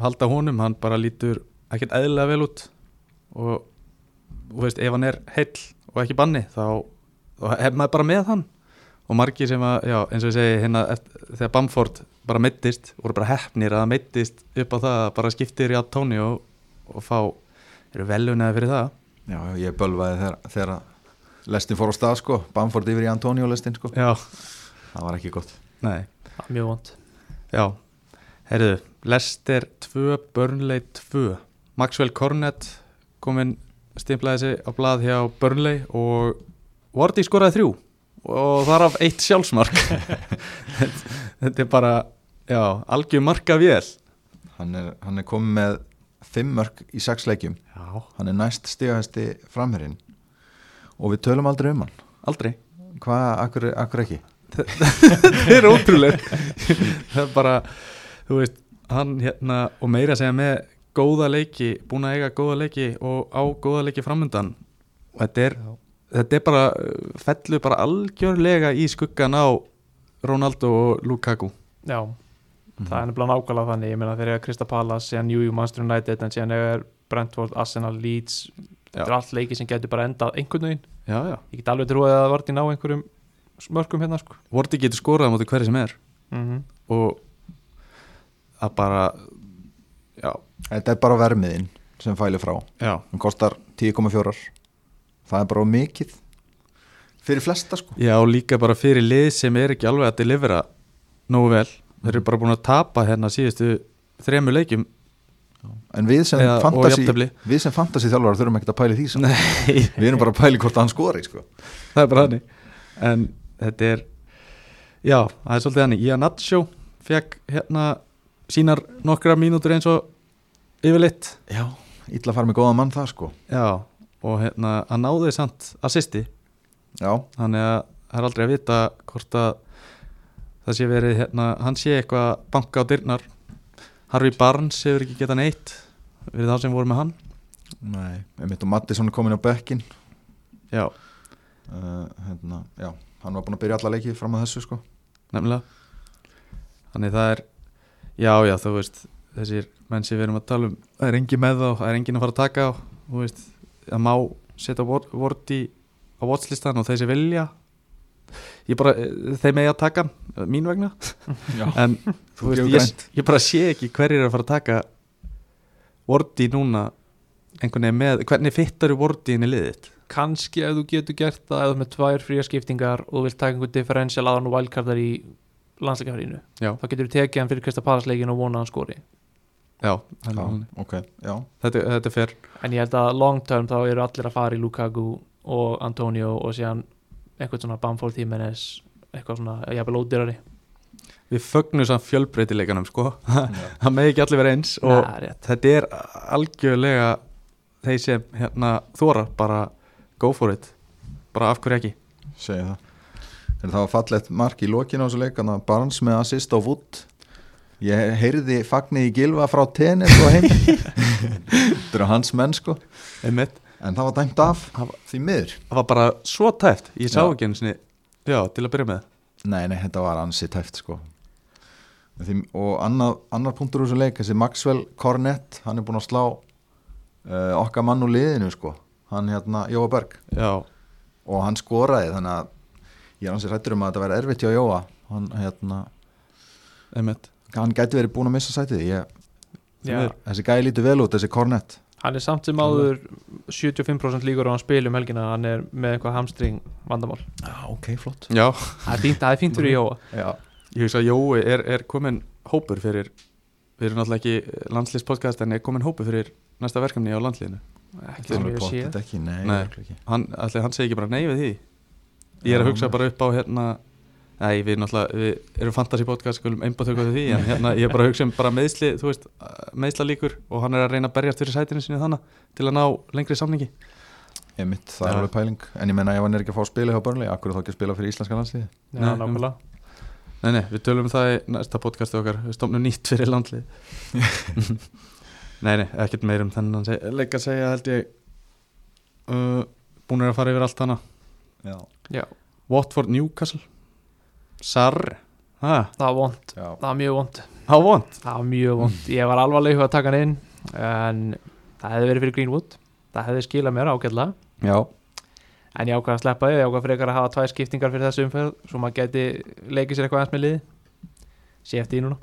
halda honum, hann bara lítur ekkert eðlilega vel út og þú veist, ef hann er heill og ekki banni, þá, þá hef maður bara með hann og margir sem að, já, eins og ég segi hérna, eft- þegar Bamford bara meittist voru bara hefnir að það meittist upp á það að bara skiptir í Antonio og, og fá, eru velunaði fyrir það Já, ég bölvaði þegar, þegar lestin fór á stað sko, Bamford yfir í Antonio lestin sko, já, það var ekki gott nei það er mjög vond Já, heyrðu, Lester 2, Burnley 2 Maxwell Cornett kominn stimplaði sig á blað hjá Burnley og Wardy skoraði þrjú og þar af eitt sjálfsmark Þetta- Þetta er bara já, algjör marka vél hann er, hann er komið með fimm mörg í sex leikjum Já, hann er næst stigahæsti framherinn og við tölum aldrei um hann aldrei hvað, akkur, akkur ekki Þetta er ótrúleg Það er bara, þú veist hann hérna og meira að segja með góða leiki, búin að eiga góða leiki og á góða leiki framundan og þetta er þetta er bara, uh, fellur bara algjörlega í skuggan á Ronaldo og Lukaku Já, Mhm. það er nefnilega nákvæmlega þannig ég meina þegar ég er Krista Pallas, síðan New York Manchester United en síðan er Brentford, Arsenal, Leeds Já. þetta er allt leiki sem getur bara endað einhvern veginn já, já. ég get alveg trúið að það vart í ná einhverjum smörkum hérna sko Vorti getur skorað á móti hverju sem er Mhm. og að bara já, þetta er bara vermiðin sem fæli frá já, hann kostar 10,4 það er bara of mikið fyrir flesta sko já og líka bara fyrir lið sem er ekki alveg að delivera nógu vel, þeir eru bara búin að tapa hérna síðustu þremu leikjum en við sem Eða- og fantasy jafntefli. við sem fantasy þjálfara þurfum ekkert að pæli því samt. Nei, við erum bara að pæli hvort hann skori sko. það er bara þannig en þetta er já, það er svolítið þannig, Ian Nacho fekk hérna sínar nokkra mínútur eins og yfirleitt já, illa fara með góða mann það sko já, og hérna hann náði samt assisti, já, þannig að það er aldrei að vita hvort að það sé verið, hérna, hann sé eitthvað banka á dyrnar, Harvey Barnes hefur ekki getað neitt við þá sem voru með hann nei einmitt og Mattisson er komin á bekkin já, uh, hérna, já, hann var búin að byrja alla leiki fram að þessu sko nefnilega þannig það er já já þú veist þessir menn sem við erum að tala um það er engin með þá, það er engin að fara að taka á þú veist, það má setja vort í á watchlistan og þeir sem vilja ég bara, eh, þeir megi að taka hann, eh, mín vegna Já. en Þú þú veist, gefur ég, ég bara sé ekki hverjir er að fara að taka vorti núna einhvern veginn með, hvernig fittar eru vorti inn í liðið þitt? kannski ef þú getur gert það ef þú ert með tvær fría skiptingar og þú vilt taka einhvern differential aðan og wildcardar í landsleikafrínu Já. þá getur þú tekið hann fyrir Krista Pallas leikin og vonað hann skori já, þannig já, að- ok, já, þetta, þetta fer en ég held að long term þá eru allir að fara í Lukaku og Antonio og síðan eitthvað svona Bamford Jimenez eitthvað svona, jafnvel ódýrari við fögnum samt fjölbreytileikanum sko það með ekki allir vera eins og Nei, rétt. þetta er algjörlega þeir sem hérna þóra bara go for it bara af hverju ekki segi það en það var fallegt mark í lokin á þessu leik þannig að Barnes með assist á Wood ég heyrði fagnir í gilva frá tennis og heim þetta eru hans menn sko einmitt, en það var dæmt af Það var- því miður það var bara svo tæft ég sá Já. ekki einu sinni, já til að byrja með nei, nei, þetta var ansi tæft sko En því, og annað, annar punktur úr þessu leik þessi Maxwell Cornett, hann er búin að slá uh, okkar mann úr liðinu sko hann hérna, Jóa Berg já, og hann skoraði þannig að ég er ansið rættur um að þetta verði erfitt hjá Jóa hann, hérna, einmitt hann gæti verið búin að missa sætið ég, Já, miður. þessi gæði lítið vel út, þessi Kornett hann er samt sem áður 75% líkur á að hann spila um helgina hann er með eitthvað hamstring vandamál já, ok, flott Já, það er fínt, það er fínt fyrir Jóa já, ég hugsa að Jói er, er komin hópur fyrir við erum náttúrulega ekki landslýspodcast en er komin hópur fyrir næsta verkefni á landslýðinu ekki sem alveg ég sé pottet ekki, nei, Nei. örugglega ekki. hann, ætli, hann segi ekki bara nei við því ég er að Já, hugsa maður. bara upp á hérna nei við náttúrulega, við erum fantasy podcast skulum einbátöku að því, en hérna ég er bara að hugsa um bara meðsli, þú veist, meðsla líkur og hann er að reyna að berjast fyrir sætinu sinni þannig til að ná lengri samningi Einmitt, það er Já. alveg pæling en ég menna ef hann er ekki að fá að spila hjá Burnley akkur þá ekki að spila fyrir íslenska landsliði Já, Nei, nákvæmlega nei nei, við tölum um það í næsta podcasti okkar við stofnum nýtt fyrir landlið nei nei, ekkert meir um þennan seg- leik að segja held ég uh, búin er að fara yfir allt hana já, Já, Watford Newcastle Sarr, ha, það var vond, já. það var mjög vond á vond það var mjög vond, ég var alvarleg í að taka hann inn en það hefði verið fyrir Greenwood það hefði skilað mér ágætlega já, En ég ákvað að sleppa því, ég ákvað frekar að hafa tvær skiptingar fyrir þessu umferð Svo maður geti leikið sér eitthvað aðeins með liði Sé eftir því núna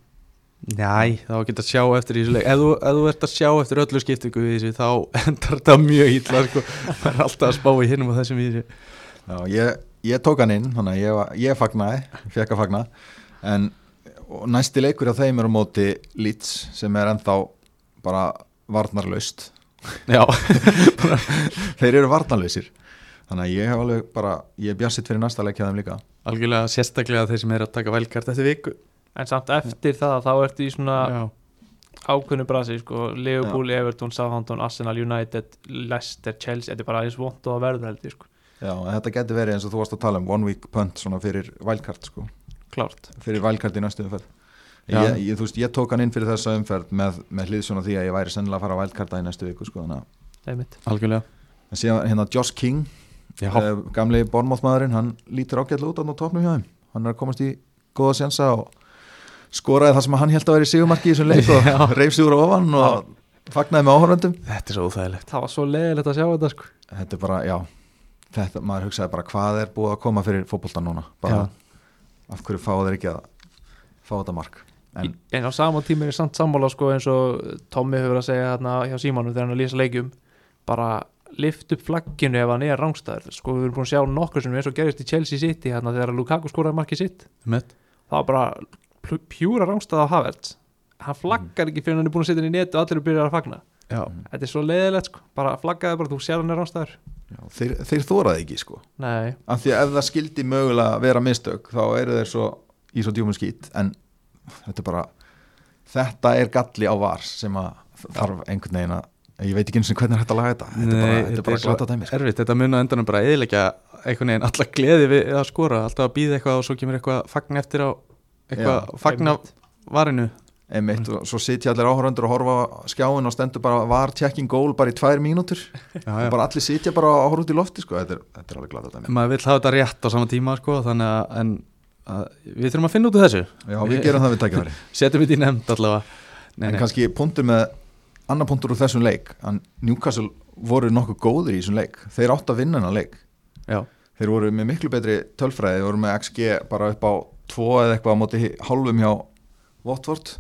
Næ, þá getur að sjá eftir í þessu leik ef þú, ef þú ert að sjá eftir öllu skiptingu í þessu þá endar þetta mjög ítla sko. það er alltaf að spá í hinum og þessum í þessu ég, ég tók hann inn þannig að ég, var- ég fagnaði, fekk að fagna en og næsti leikur af þeim er á móti Leeds sem er ennþá bara varnarlaust Já, þeir eru varnarlausir þannig að ég hef alveg bara, ég er bjarsitt fyrir næsta leik hjá þeim líka algjörlega sérstaklega þeir sem eru að taka velkart eftir viku En samt eftir það, þá ertu í svona ákveðnu brasi sko, Liverpool, Everton, Southampton, Arsenal, United, Leicester, Chelsea Þetta er bara eins vond og að verður held ég sko já, en þetta getur verið eins og þú varst að tala um one week punt svona fyrir wildcard sko Klárt fyrir valkart í næstu umferð Já. ég, ég, þú veist, ég tók hann inn fyrir þessa umferð með, með hlýðsjóna því að ég væri sennilega að fara að valkarta í næstu viku sko, þannig að- Einmitt. algjörlega en síðan hérna Josh King Já, eh, gamli bornmáttmaðurinn, hann lítur ágætlega út á topnum hjá þeim, hann er að komast í góða sjansa og skoraði það sem hann held að vera í sigumarki í þessum leik og reyf sig úr ofan og fagnaði með áhöröndum þetta er svo óþægilegt Það var svo leiðilegt að sjá þetta sko þetta er bara, já þetta, maður hugsaði bara hvað er búið að koma fyrir fótbolta núna, bara Já. af hverju fá þeir ekki að fá þetta mark en, en, á sama tíma er ég samt sammála sko, eins og Tommy hefur verið að segja þarna hjá Símanum þegar hann er að lýsa leikjum bara lift upp flagginu ef hann er rangstæður sko við erum búin að sjá nokkur sem eins og gerist í Chelsea City hérna þegar Lukaku skoraði markið sitt Einmitt. það var bara pl- pjúra rangstæða á Havertz hann flaggar ekki fyrir hann er búin að setja hann í net og allir byrjar að fagna Já. þetta er svo leiðilegt sko bara flaggaði bara þú sér hann er rangstæður já, þeir, þeir þóraði ekki sko nei af því að ef það skildi mögulega vera mistök þá eru þeir svo í svo djúmum skýt en þetta er bara þetta er galli á var sem að þarf einhvern veginn að ég veit ekki eins og hvernig er hægt að laga þetta þetta er bara, Nei, þetta er bara svo glata dæmi sko. Erfitt, þetta mun á endanum bara eðilegja einhvern veginn alla gleði við að skora alltaf að býða eitthvað og svo kemur eitthvað fagn eftir á eitthvað Já. fagn af varinu einmitt og svo sitja allir áhöröndur og horfa á skjáin og stendur bara var checking goal bara í tvær mínútur já, og bara allir sitja bara og horfa út í lofti sko. þetta, er, þetta er alveg glata dæmi maður vill hafa þetta rétt á sama tíma sko, þannig að, en, að við þurfum að finna út úr þessu já við gerum það við tækifæri setjum við þetta í nefnd allavega nei, en nei, kannski punktur með annar punktur úr þessum leik að Newcastle voru nokkuð góðir í þessum leik þeir átt að vinna hennar leik já, þeir voru með miklu betri tölfræði þeir voru með XG bara upp á 2 eða eitthvað á móti hi- hálfum hjá Watford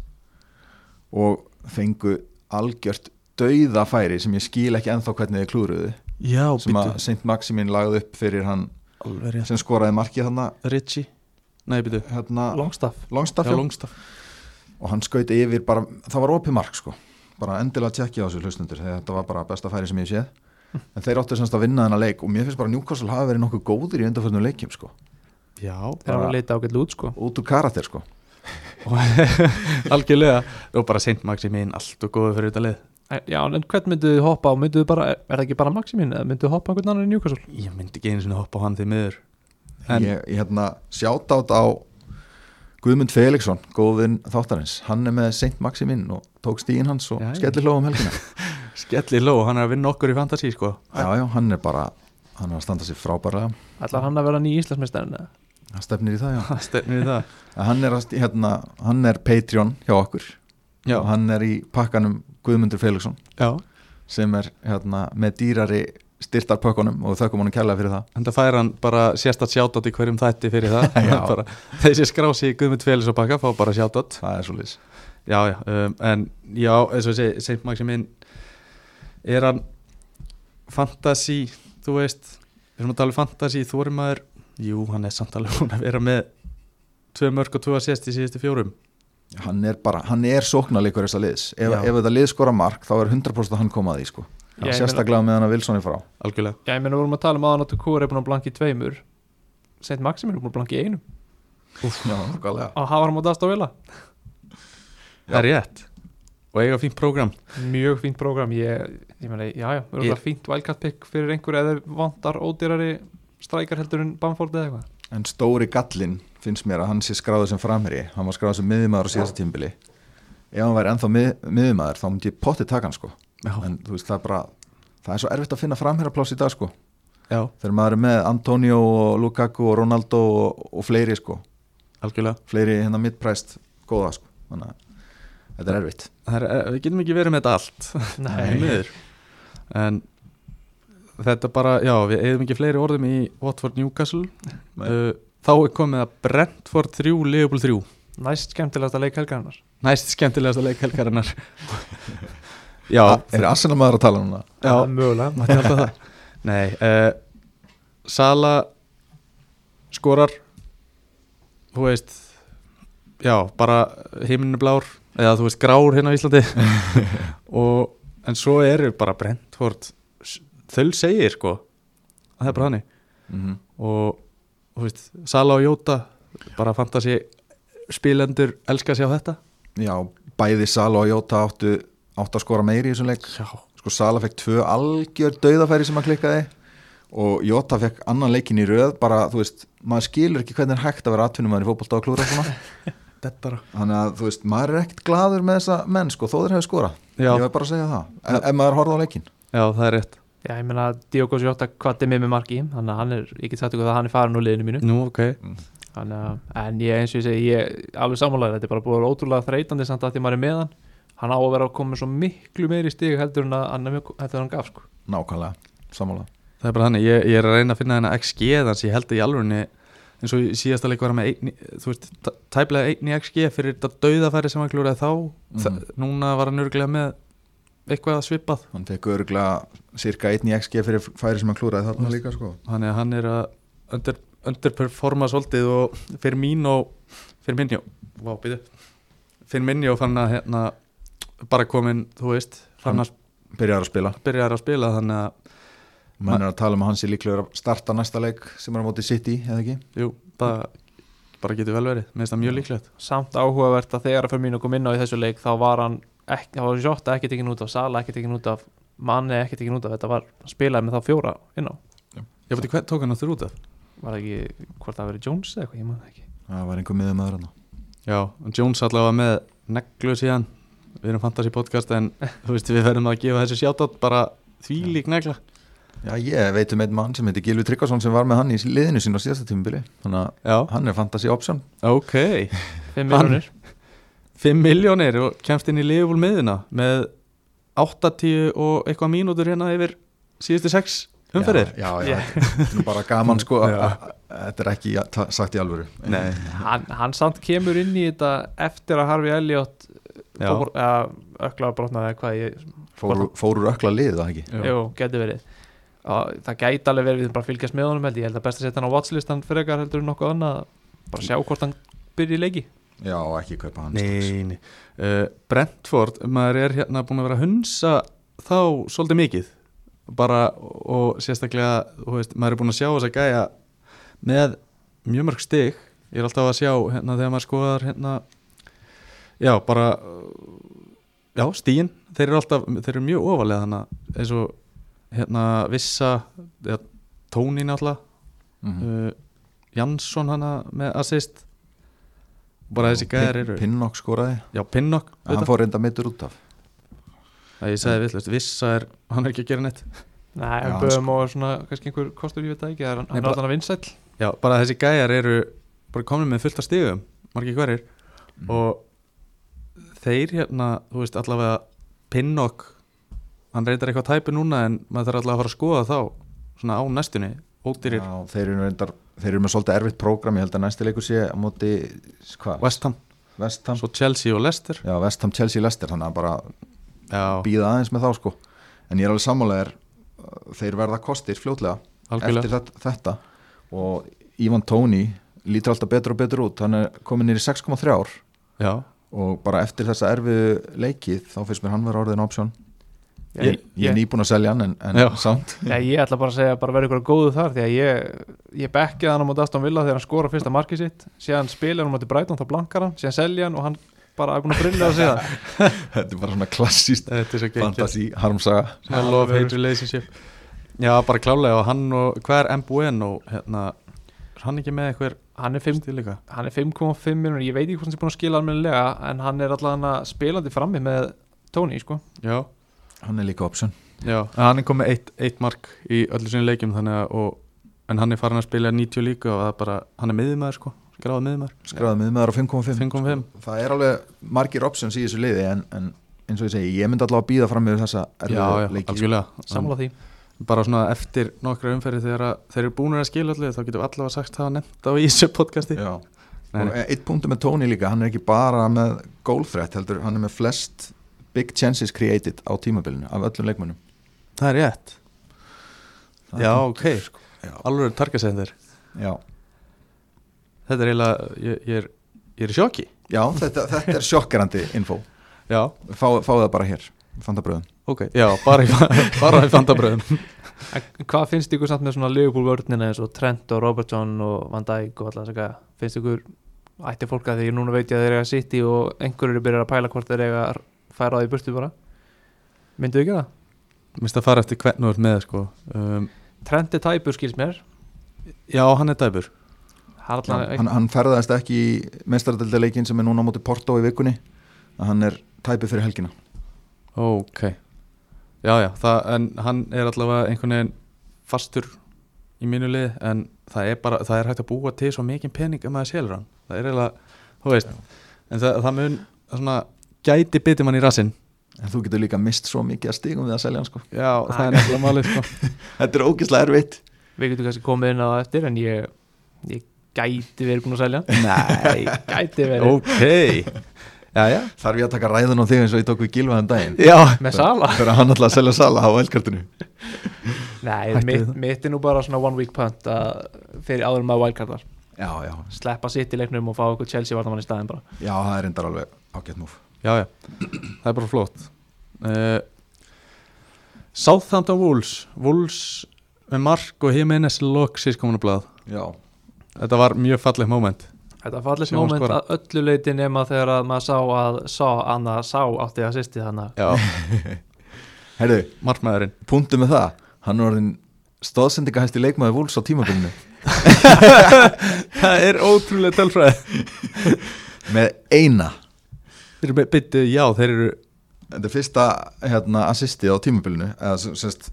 og fengu algjört dauðafæri sem ég skil ekki ennþá hvernig þið klúruðu já sem að býtu, St. Maximin lagði upp fyrir hann alveg rétt sem skoraði markið hann Richie, nei býtu hérna, longstaff já, Longstaff Longstaff og hann skaut yfir bara, það var opið mark sko bara endilega tjekkið á þessu hlustundur þegar þetta var bara besta færi sem ég hef séð en þeir áttu semst að vinna þennan leik og mér finnst bara að Newcastle hafa verið nokkuð góðir í undanförnum leikjum sko, já, þegar hann leita ágætlega út sko út úr karakter sko algjörlega og bara Saint Maximin, allt og góðu fyrir þetta lið En- já en hvern mynduðu hoppa á mynduðu bara er það ekki bara Maximin eða mynduðu hoppa á einhvern annan í Newcastle ég myndi ekki einu sinni hoppa á hann því miður En- ég, ég hérna sjátt át á Guðmund Felixson, góðinn þáttarins hann er með Saint Maximin og tók stíin hans og Já, já. skellir hlóðum helgina skelli ló, hann er að vinna okkur í fantasy sko já, já, hann er bara, hann er að standa sér frábærlega Ætlar hann að vera ný Íslandsmeistarinn eða? hann stefnir í það, já það stefnir í það En hann er, að sti- hérna, hann er Patreon hjá okkur já, og hann er í pakkanum Guðmundur Felixson já, sem er hérna, með dýrari styrtar pökkunum og þökkum honum kærlega fyrir það Enda fær hann bara sérstætt sjátt í hverjum þætti fyrir það Já. bara, Þessi skrási Guðmund Félix og baka fá bara sjátt það er svo lýs já, já, um, en já, eins og þessi Saint Maximin er hann fantasy, þú veist við erum að tala um fantasy, þú erum maður jú, hann er samt alveg hún að vera með tvö mörg og tvö að sést í síðustu fjórum hann er bara, hann er sóknarleikur þessa liðs ef, Já. ef þetta lið skora mark þá er 100% hann komað í sko Ég meina- sérstaklega meðan að Wilson er frá algjörlega, Já, ég meina, við vorum að tala um aðan að Tukor er búin að blanki tveimur Seint Maxim er búin að blanki einum já, nákvæmlega. á Havaram og Dasta Vila það er rétt og eiga fínt prógram Mjög fínt prógram, ég, ég meina, já, já Við erum Ég- bara fínt wildcard pick fyrir einhver eða vantar ódýrari strækar heldur en Bamford eða eitthvað en stóri gallin finnst mér að hann sé skráður sem framherji hann var skráður sem miðjumæður á síðasta tímbili ef hann væri ennþá mið, miðjumæður þá myndi ég potti taka hann sko já, en þú veist það er bara það er svo erfitt að finna framherjapláss í dag sko já, þegar maður er með Antonio og Lukaku og Ronaldo og, og fleiri sko algjörlega fleiri hérna mittpræst góða sko þannig að þetta er erfitt það er, eh, við getum ekki verið með þetta allt Því miður. en þetta bara, já, við eigum ekki fleiri orðum í Watford Newcastle Nei. uh, þá er komið að Brentford 3, Liverpool 3 Næst skemmtilegast að leik helgarnar næst skemmtilegasta leikhelgarinnar já, er Arsenal maður að tala núna? já mögulega mætti halda það nei, uh, Sala skorar þú veist já, bara himninu blár eða þú veist grár hérna á Íslandi og, en svo eru bara Brentford þau segir sko það er bara hannig Mm Mhm. og þú veist, Sala og Jóta bara fantasi spilendur elska sig á þetta já, bæði Sala og Jóta áttu áttu að skora meiri í þessum leik já, sko Sala fekk tvö algjör dauðafæri sem hann klikkaði og Jóta fekk annan leikin í röð bara, þú veist, maður skilur ekki hvernig er hægt að vera atvinnumæður í fótbolta og klúra svona þetta bara þannig að, þú veist, maður er ekkert gladur með þessa menn, sko, þó þeir hefur skora Já. ég var bara að segja það, ef, ef maður horfði á leikin já, það er rétt Já, ég meina, Diogo Sjóta kvatti mig með marki Þannig að hann er, ég get sagt ykkur það að hann er farin úr liðinu mínu Nú, ok, Þannig að, en ég eins og ég segi, ég alveg sammálaður, þetta er bara búið að vera ótrúlega þreytandi samt að því maður er með hann, hann á að vera að koma með svo miklu meiri stig heldur en að hann, heldur en hann gaf sko. nákvæmlega, sammála það er bara þannig ég, ég er að reyna að finna þennan XG þannig ég held að í alvörunni eins og í síðasta leik var hann með einni, þú veist, tæ- tæplega einn í XG fyrir þetta dauðafæri sem hann klúraði þá mm núna var hann örglega með eitthvað að svipað hann fekk örgulega cirka 1 í XG fyrir færi sem hann klúraði þarna líka sko þannig að hann er að under, underperforma svolítið og fyrir mín og fyrir minni og fyrir minni og fann að hérna bara komin, þú veist fann að byrjar að spila, byrjaði að spila þannig að, mann er að tala um að hann sé líklega að starta næsta leik sem er á móti City eða ekki, jú, það bara getur vel verið, mér finnst það mjög líklegt Samt áhugavert að þegar að fyrir mínu kom inn á í þessu leik þá var hann, ekki, þá var Sjóta ekki tekin út af, Sala ekki tekin út af, Manni ekki tekin út af, þetta var, hann spilaði með þá fjóra inn á, ég veit hvað tók hann á þurr út af var það ekki, hvort það hafi verið Jones eða eitthvað, ég man það ekki. það var einhver miðum aðra já, en Jones allavega með neglu síðan við erum fantasy podcast en þú veist við verðum að gefa þessu sjátt bara því lík negla Já, ég veit um einn mann sem heitir Gilvi Tryggvason sem var með hann í liðinu sín á síðasta tímubili þannig já, að hann er fantasy option ok Fimm Hann- miljonir, 5 miljónir og kemst inn í Liverpool miðuna með 80 og eitthvað mínútur hérna yfir síðustu 6 umferðir Já, já, Já. já. þetta er nú bara gaman sko Já. að- að- þetta er ekki ja- ta- sagt í alvöru Nei, hann, hann samt kemur inn í þetta eftir að Harfi Elliot, Já. fór, eða, ökla brotnaði hvað ég fóru, fóru ökla lið það ekki já, Jú, getur verið og það gæti alveg verið við þurfum bara að fylgjast með honum held ég. ég held að best að setja hann á watchlistan frekar heldur en nokkuð annað bara sjá hvort hann byrja í leiki Já, ekki kaupa hann strax. Nei, nei. Uh, Brentford, maður er hérna búin að vera að hunsa þá svolítið mikið bara og sérstaklega þú veist, maður er búin að sjá þess að gæja með mjög mörg stig ég er alltaf að sjá hérna þegar maður skoðar hérna já bara uh, já stíin, þeir eru alltaf þeir eru mjög ofalega þannig eins og hérna vissa ja, tónin alltaf Mhm. uh, Jansson hana með assist bara þessi gæjar eru Pinnock skoraði, Já, Pinnock hann auðvitað. fór reynda mittur út af Það ég sagði villust, Vissa er, hann er ekki að gera neitt Nei, Já, hann böðum og svona kannski einhver kostur ég veit það ekki það er hann Nei, er bara- alltaf vinsæll Já, bara þessi gæjar eru bara komin með fullt af stigum, margir hverjir Mhm. og þeir hérna, þú veist allavega Pinnock, hann reyndar eitthvað tæpi núna en maður þarf alltaf að fara að skoða þá svona á næstunni, ódýrir Já, þeir eru reyndar, þeir eru með svolítið erfitt prógram, ég held að næsti leikur sé á móti, hvað, West Ham, Vestham svo Chelsea og Leicester Já, Vestham, Chelsea, Leicester, þannig að bara Já, býða aðeins með þá sko en ég er alveg sammálaðir, þeir verða kostir fljótlega algjörlega eftir þetta, þetta og Ivan Tóni lítur alltaf betur og betur út, hann er komin nýri 6,3 ár Já, og bara eftir þessa erfiðu leikið þá finnst mér hann vera orðin option ég, ég, ég er nýbúin að selja hann en, en Já. samt Já, ég ætla bara að segja bara verið ykkur góðu þar því að ég, ég bekkið hann á móti Aston Villa þegar hann skora fyrsta markið sitt síðan spilar hann á móti Brighton þá blankar hann síðan selja hann og hann bara er búin að brilla að segja það þetta er bara svona klassíst þetta er svo geggjast fantasy harmsaga Svona love hate relationship Já, bara klálega og hann og hvað er MBN og hérna er hann ekki með eitthvað hann er fimm- stíl líka hann er 5,5 miljonur ég veit ekki hvort hann er búin að skila almennilega en hann er allavega spilandi frammi með Tony sko Já, hann er líka option já, en hann er komið eitt, eitt mark í öllu sinni leikjum þannig að og, en hann er farin að spila 90 líka og það er bara, hann er miðumæður sko gráða miðumæður, skráðið með maður á 5,5 5.5 það er alveg margir options í þessu liði en, en eins og ég segi, ég myndi allavega að býða fram með þessa Já, já, erfiðu leiki sko. algjörlega Hann- sammála því bara svona eftir nokkra umferði þegar að, þeir eru búinir að skila allir þá getum við allavega sagt það nefnt á Ísö podcasti Já. Nei, og nei. eitt punktum með Tony líka hann er ekki bara með gólfrætt heldur, hann er með flest big chances created á tímabilinu af öllum leikmönnum það er rétt Það er já punktur, ok, Já. alveg targasendir já. þetta er eiginlega, ég, ég, er, ég er í sjokki já, þetta, þetta er sjokkerandi info já, Fá, fá það bara hér, fandabröðum ok, já, bara í, bara í fandabröðum en hvað finnst ykkur samt með svona Liverpool vörnina eins og Trent og Robertson og Van Dijk og alltaf þess að finnst ykkur ætti fólk að því núna veit ég að þeir eiga City og einhverjur eru byrjar að pæla hvort þeir eiga að færa það í burtu bara myndu ekki það? minnst að fara eftir hvern og er með sko um, Trent er tæpur skils mér já, hann er dæbur hann, Já, allan, hann, hann ferðaðist ekki í mestaradöldaleikin sem er núna á móti Porto í vikunni að hann er tæpið fyrir helgina ok, já, já það, en hann er allavega einhvern veginn fastur í mínu lið en það er bara, það er hægt að búa til svo mikið pening um að það selur hann það er eiginlega, þú veist en það, það mun, það svona gæti biti mann í rassinn en þú getur líka mist svo mikið að stigum við að selja hann sko. já, það er nefnilega málið sko. þetta er ógislega erfitt við getum kannski komið inn á það eftir en ég, ég gæti verið búin að selja hann. nei, gæti verið ok já, já, þarf ég að taka ræðan á þig eins og ég tók við gilvaðan daginn já með sala fyrir að hann ætla að selja sala á elkartinu Nei, Hættu við mitt, það. mitt er nú bara svona one week punt að fyrir áður en maður wildcardar já, já, sleppa sitt í leiknum og fá okkur Chelsea varnamann í staðin bara já, það er reyndar alveg ágætt múf já, já, það er bara flott uh, Southampton Wolves Wolves með Mark og Jimenez loksis komin á blað Já, þetta var mjög falleg moment Þetta var allir Sem hún moment skorar. að öllu leiti nema þegar að maður sá að sá að sá átti að sýsti þannig já, heyrðu, markmaðurinn punktu með það Hann er orðin stóðsendingahæsti leikmaði vúls á tímabilinu það er ótrúlega tölfræð Með eina þeir eru byttu, já, þeir eru Þetta er fyrsta hérna, assistið á tímabilinu eða, sem- semst,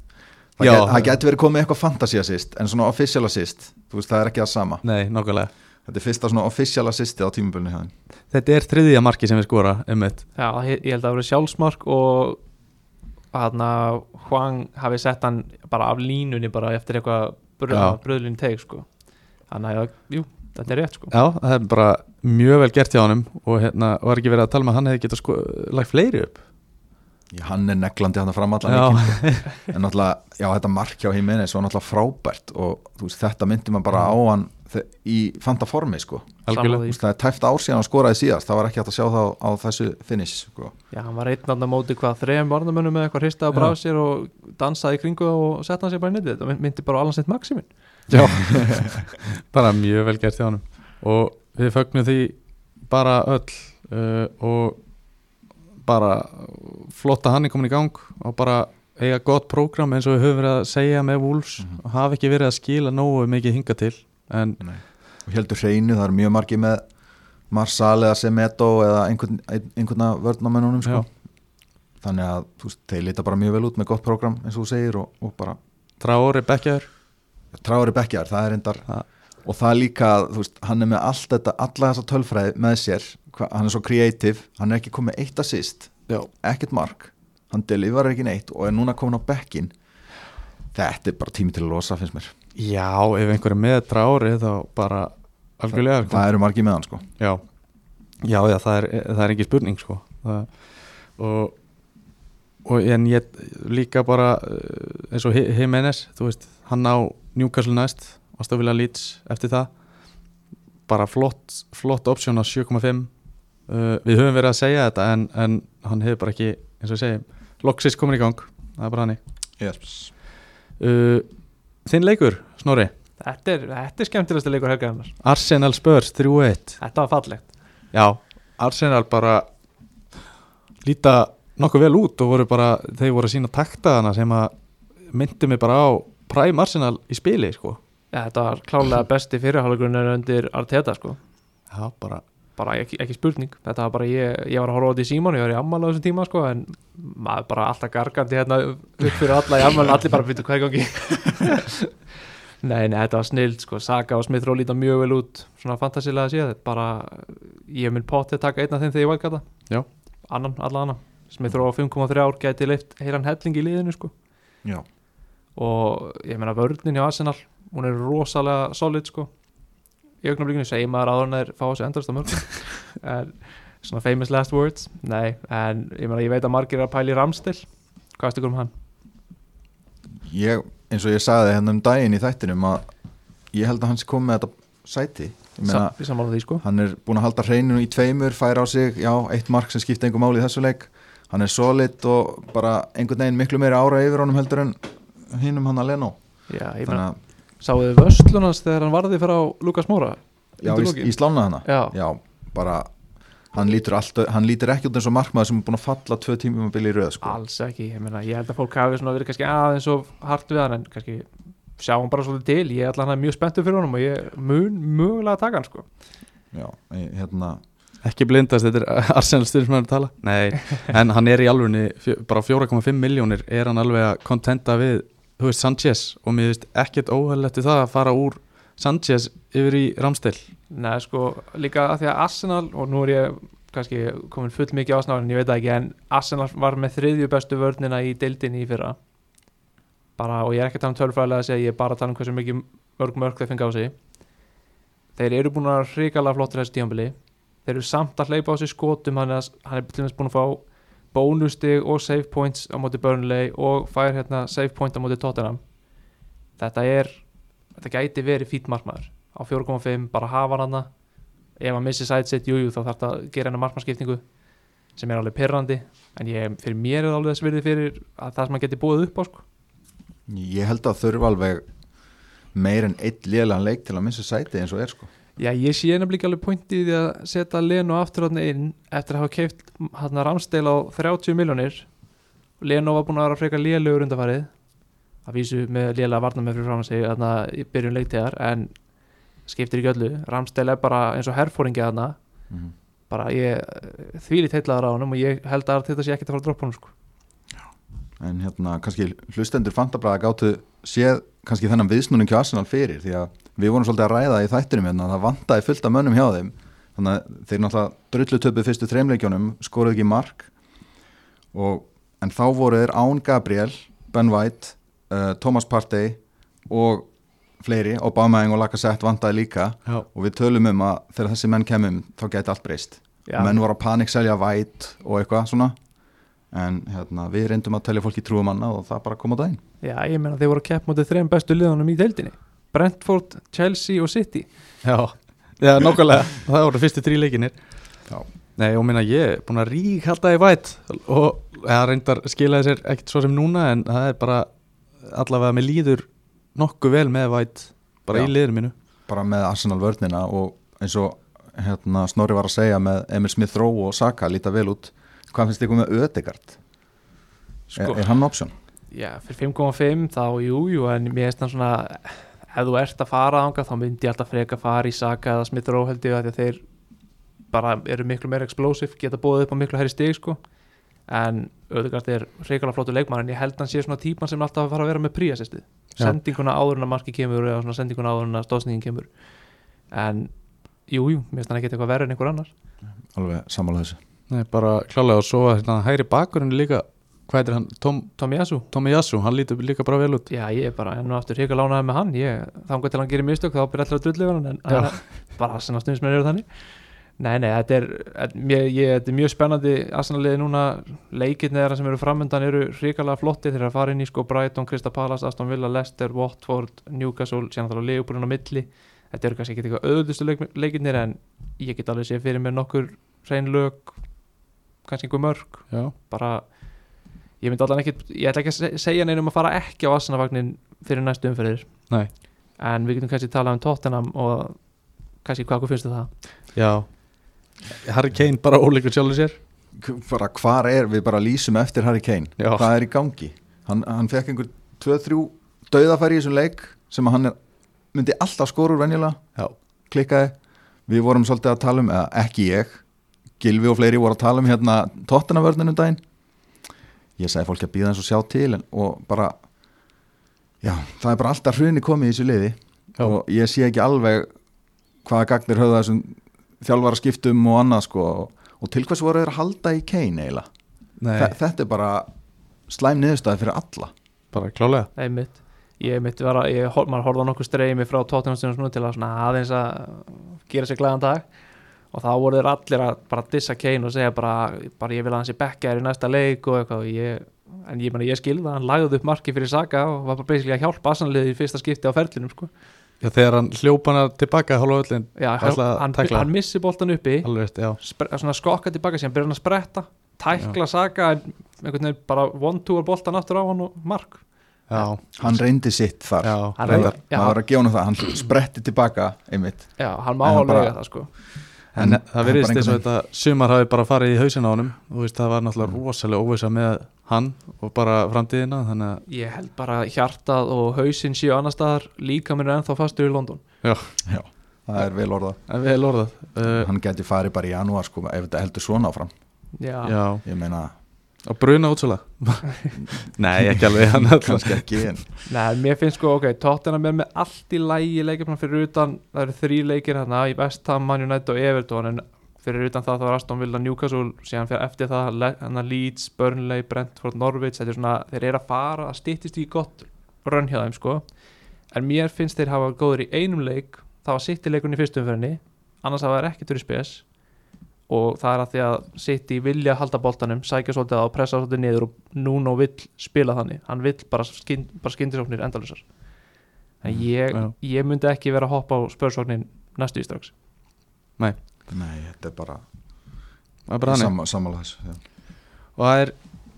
Það, Já. gæti, það gæti verið komið eitthvað fantasy assist En svona official assist, þú veist það er ekki það sama nei, nákvæmlega Þetta er fyrsta svona official assistið á tímabilinu hjá hann þetta er þriðja marki sem við skora um eitt Já, ég ég held að það voru sjálfsmark og hann að Hwang hafi sett hann bara af línunni bara eftir eitthvað Já. bröðlinn teik sko þannig að, jú, þetta er rétt sko já, það er bara mjög vel gert hjá honum og hérna, var ekki verið að tala með að hann hefði getað sko, lagt fleiri upp Já, Hann er neglandi hann að fram allan leikinn. já, en náttúrulega, já þetta mark hjá Jimenez var náttúrulega frábært og þú veist, þetta myndi maður bara á hann þe- í fanta formi sko algjörlega Sammála Þú veist, það er tæft ár síðan hann skoraði síðast það var ekki hægt að sjá það á, á þessu finish sko. Já, hann var einn andan móti hvað þrejum varnamönnum með eitthvað hristaði bara Já. af sér og dansaði í kringu það og setti hann sér bara í netið þetta myndi bara á allan sitt maksimin Já, bara mjög vel gert hjá honum og við fögnum því bara öll uh, og bara flott að hann er komin í gang og bara eiga gott prógram eins og við höfum verið að segja með Wolves mm Mhm. og hafa ekki verið að skila nógu mikið hinga til en og heldur hreinu, það er mjög margi með Marsal eða Semedo eða einhvern, ein- einhvern af vörnamennunum Já. sko. þannig að þú veist, þeir lita bara mjög vel út með gott program eins og þú segir og, og bara Traori Bekkjaður tráður í bekkjar, það er endar Ha. og það er líka, þú veist, hann er með allt þetta, alla þessa tölfræði með sér hva, hann er svo kreatív, hann er ekki komið eitt assist, Já. ekkert mark hann deliverar ekki neitt og er núna komin á bekkin þetta er bara tími til að losa finnst mér Já, ef einhver er með trári þá bara algjörlega sko. það eru margir með hann sko Já, já, já það, er, það er ekki spurning sko. það, og, og en ég líka bara eh, eins og Hi- Jimenez, þú veist hann á Newcastle næst og stofila Leeds eftir það bara flott, flott option á 7,5 uh, við höfum verið að segja þetta en, en hann hefur bara ekki eins og ég segi, loksis komin í gang það er bara hannig yes. uh, Þinn leikur, Snorri Þetta er, þetta er skemmtilegsta leikur helgaðinnar Arsenal Spurs 3-1 Þetta var fallegt Já, Arsenal bara líta nokkuð vel út og voru bara, þeir voru að sína taktaðana sem að myndi mig bara á Prime Arsenal í spili sko. ja, Þetta var klálega besti fyrirhálagrunnar undir Arteta sko Já, bara bara ekki, ekki spurning þetta var bara ég, ég var að horfa á þetta í síman ég var í ammala á þessum tíma sko en maður bara alltaf gargandi hérna upp fyrir alla í ammala allir bara byrja hvað er í gangi nei, nei, þetta var snild sko Saga og Smith Rowe líta mjög vel út svona fantasilega að séð bara ég mun potið taka einn af þeim þegar ég valgata Já. annan, alla annan Smith Rowe á 5,3 ár gæti leift heilan helling í liðinu sko já, og ég meina vörnin hjá Arsenal hún er rosalega solid sko í augnablikinu segir maður áður en þeir fá þessu endast á mörgum en svona famous last words nei, en ég meina ég veit að margir er að pæla í Ramstil hvað er stökur um hann? ég, eins og ég sagði hérna um daginn í þættinum að ég held að hans kom með þetta sæti ég meina, Sa- Ég sammála því sko hann er búin að halda hreinu í tveimur færa á sig, já, eitt mark sem skipta einhver máli í þessu leik, hann er solid og bara einhvern veginn miklu meira ára yfir honum heldur en hinnum hann að Leno já, ég þannig meina, að, sáu þið vöslunans þegar hann varði frá Lukas Móra já, undir í, lokin? í slána hana já, já, bara hann lítur, alltaf, hann lítur ekki út eins og markmaður sem er búin að falla tvö tímum að byrja í röð sko. alls ekki, ég meina ég held að fólk hafi svona verið kannski aðeins og hart við hann en kannski sjá hann bara svolítið til ég ætla hann að mjög spenntur fyrir honum og ég mun mögulega taka hann sko já, ég- hérna, ekki blindast, þetta er Arsenal styrnismæður tala Nei, en hann er í alvunni bara 4,5 miljónir er hann alveg að kontenta við, þú veist, Sanchez og mér veist ekkert óhæðilegt við það að fara úr Sanchez yfir í Ramstil Nei, sko, líka að því að Arsenal og nú er ég kannski komin full mikið ásnáðin, ég veit það ekki en Arsenal var með þriðju bestu vörnina í deildinni í fyrra bara, og ég er ekki að tala um tölfræðilega að segja ég er bara að tala um hversu mikið mörg mörg þeir fengi á sig þeir eru búin að hrikalega flottir þessu tíambili þeir eru samt að hleypa á sig skotum hann er, hann er til dæmis búin að fá bónustig og save points á móti Burnley og fær hérna save point á móti Tottenham þetta er þetta gæti verið fýtt markmaður á 4.5, bara hafa hann hana ef hann missi sætsitt, jújú, þá þarf það að gera hennar markmannskiptingu sem er alveg perrandi en ég, fyrir mér er það alveg þess virði fyrir að það sem hann geti búið upp á sko. ég held að þurfa alveg meir en eitt lélan leik til að missa sæti eins og er sko. Já, ég sé hennar líka alveg pointið í því að setja Leno aftur hann inn eftir að hafa keift hann að rámsteila á 30 miljónir Leno var búin að vera frekar lélugur undarfarið að vísu með lélega varnar með fyrir fram að sig þannig að ég byrjun leiktegar en skiptir ekki öllu, rámsteila er bara eins og herfóringi þarna mm Mhm. bara ég eh, þvílít heitlaður á honum og ég held að þetta sé ekkert að fara að droppa honum sko. en hérna kannski hlustendur fantabræða gáttu séð kannski þennan viðsnúning hjá Arsenal fyrir því að við vorum svolítið að ræða í þættinum hérna að það vantaði fullt af mönnum hjá þeim þannig að þeir náttúrulega drullu töpuð fyrstu þreimleikjónum, skoruð ekki mark og, en þá voru þeir Án Gabriel, Ben White uh, Thomas Partey og fleiri, Obamaeng og Lacazette vantaði líka Já, og við tölum um að þegar þessi menn kemum þá gæti allt breyst Já. menn voru að panikselja væt og eitthvað svona en hérna, við reyndum að telja fólki trúum annað og það bara kom á daginn Já, ég meina þeir voru að kepp mútið þrejum bestu liðunum í deildinni Brentford, Chelsea og City já, já nokkulega það voru fyrstu þrý leikinir Já. Nei, og minna ég er búin að rík halda í væt og það reyndar skilaði sér ekkert svo sem núna en það er bara allavega með líður nokkuð vel með væt bara Já. í liður mínu bara með Arsenal vörnina og eins og hérna, Snorri var að segja með Emil Smith Rowe og Saka líta vel út hvað finnst ykkur með Ödegard? Sko, Er, er hann option? já, fyrir 5,5 þá jú, jú, en mér finnst það svona ef þú ert að fara ánga þá myndi ég alltaf freka fara í Saka eða Smith Rowe held ég af því að þeir bara eru miklu meira explosive, geta búið upp á miklu herri stig sko en auðvitað er hrikalega flottu leikmann en ég held hann sé svona típan sem er alltaf að fara að vera með príja sérstu, Já. sendinguna áður en að marki kemur eða svona sendinguna áður en að stóðsningin kemur en jú, jú, mér finnst hann ekkert eitthvað verið en einhver annar Alveg sammála þessu Nei, bara klálega og svo að hérna, hægri bakurinn líka hvað heitir hann, Tom, Tommy Yasu Tommy Jassu, hann lítur líka bara vel út Já, ég er bara enn og aftur hika lánaði með hann ég, þangað til hann gerir mistök þá byrja allir að drullu yfir hann en Já. hann er bara Arsenal snuðismenn eru þannig Nei, nei, þetta er, þetta- mér, ég, þetta er mjög spennandi Arsenalið núna, leikirni þeirra sem eru framöndan eru hrikalega flotti þeir eru að fara inn í sko Brighton, Krista Palace, Aston Villa Leicester, Watford, Newcastle síðan þá Leopoldin á milli þetta eru kannski ekki eitthvað auðvöldustu leik, leikirnir en ég get alveg séð fyrir mér nokkur hrein lög, kannski einhver mörg Já, bara ég myndi allan ekki, ég ætla ekki að se- segja neinum að fara ekki á Assanavagnin fyrir næstu umferðir Nei. en við getum kannski talað um Tottenham og kannski hvað okkur finnst þér það já Harry Kane bara ólíkur sjálfur sér K- bara hvar er, við bara lýsum eftir Harry Kane Já. hvað er í gangi hann, hann fekk einhver 2-3 döðafæri í þessum leik sem að hann er, myndi alltaf skorur venjulega Já. klikkaði, við vorum svolítið að tala um eða ekki ég, Gilvi og fleiri voru að tala um hérna tóttunavörnunum daginn ég sagði fólki að býða eins og sjá til en, og bara já, það er bara alltaf hrunni komið í þessu liði Já. og ég sé ekki alveg hvaða gagnir höfða þessum þjálfara skiptum og annað sko og, og til hvers voru þeir að halda í Kane eiginlega Nei, Þa, þetta er bara slæm niðurstaði fyrir alla bara klálega einmitt, ég mitt var að ég, hor- maður horfði á nokkuð streymi frá Tottenham stundum svona til að svona aðeins að gera sér glæðan dag og þá voru þeir allir að bara dissa Kane og segja bara, bara ég vil að hans í bekka er í næsta leik og eitthvað og ég, en ég, meni, ég skilði að hann lagði upp marki fyrir Saga og var bara basically að hjálpa Assanliði í fyrsta skipti á ferlinum sko. Já, þegar hann hljópana tilbaka hálfa öllin, Já, Ætlaði að hann, tækla. hann missi boltan uppi alveg veist, já spre, svona skokka tilbaka síðan byrja hann að spretta tækla saga en einhvern veginn bara one-two-ar boltan aftur á hann og mark Já, hann reyndi sitt þar já, Hann reyndar. reyndi- Já. maður var að gefa hann það, hann spretti tilbaka einmitt, Já, hann En má hann alveg bara- eiga það sko En En það það er virðist bara eins og einhvern þetta sumar hafi bara farið í hausin á honum og veist, það var náttúrulega rosalega óvisa með hann og bara framtíðina þannig að Ég held bara að hjartað og hausinn séu annar staðar líka mér er ennþá fastur í London það er vel orðað en vel orðað uh, hann geti farið bara í janúar sko ef þetta heldur svona áfram Já, Já, ég meina, og bruna útsala Nei, ekki alveg hann alltaf kannski ekki en Nei, mér finnst sko, ok, Tottenham er með allt í lægi leikirna fyrir utan, það eru þrý leikir hérna í West Ham, Man United og Everton en fyrir utan það þá er Aston Villa Newcastle síðan fyrir eftir það Le- hérna Leeds, Burnley, Brentford, Norwich þetta er svona, þeir eru að fara að stýttist í gott rönn hjá þeim sko en mér finnst þeir hafa góður í einum leik það var sitt í leikunni í fyrstum fyrirni annars hafa þeir ekkert verið spes og það er að því að sitt í vilja halda boltanum, sækja svolítið á, pressa svolítið niður og Nuno vill spila þannig hann vill bara, skynd, bara skyndisóknir endalusar en ég, já. ég myndi ekki vera að hoppa á spörsóknin næstu í strax nei, þetta er bara Það er bara hann sam, sammála þessu já. og það er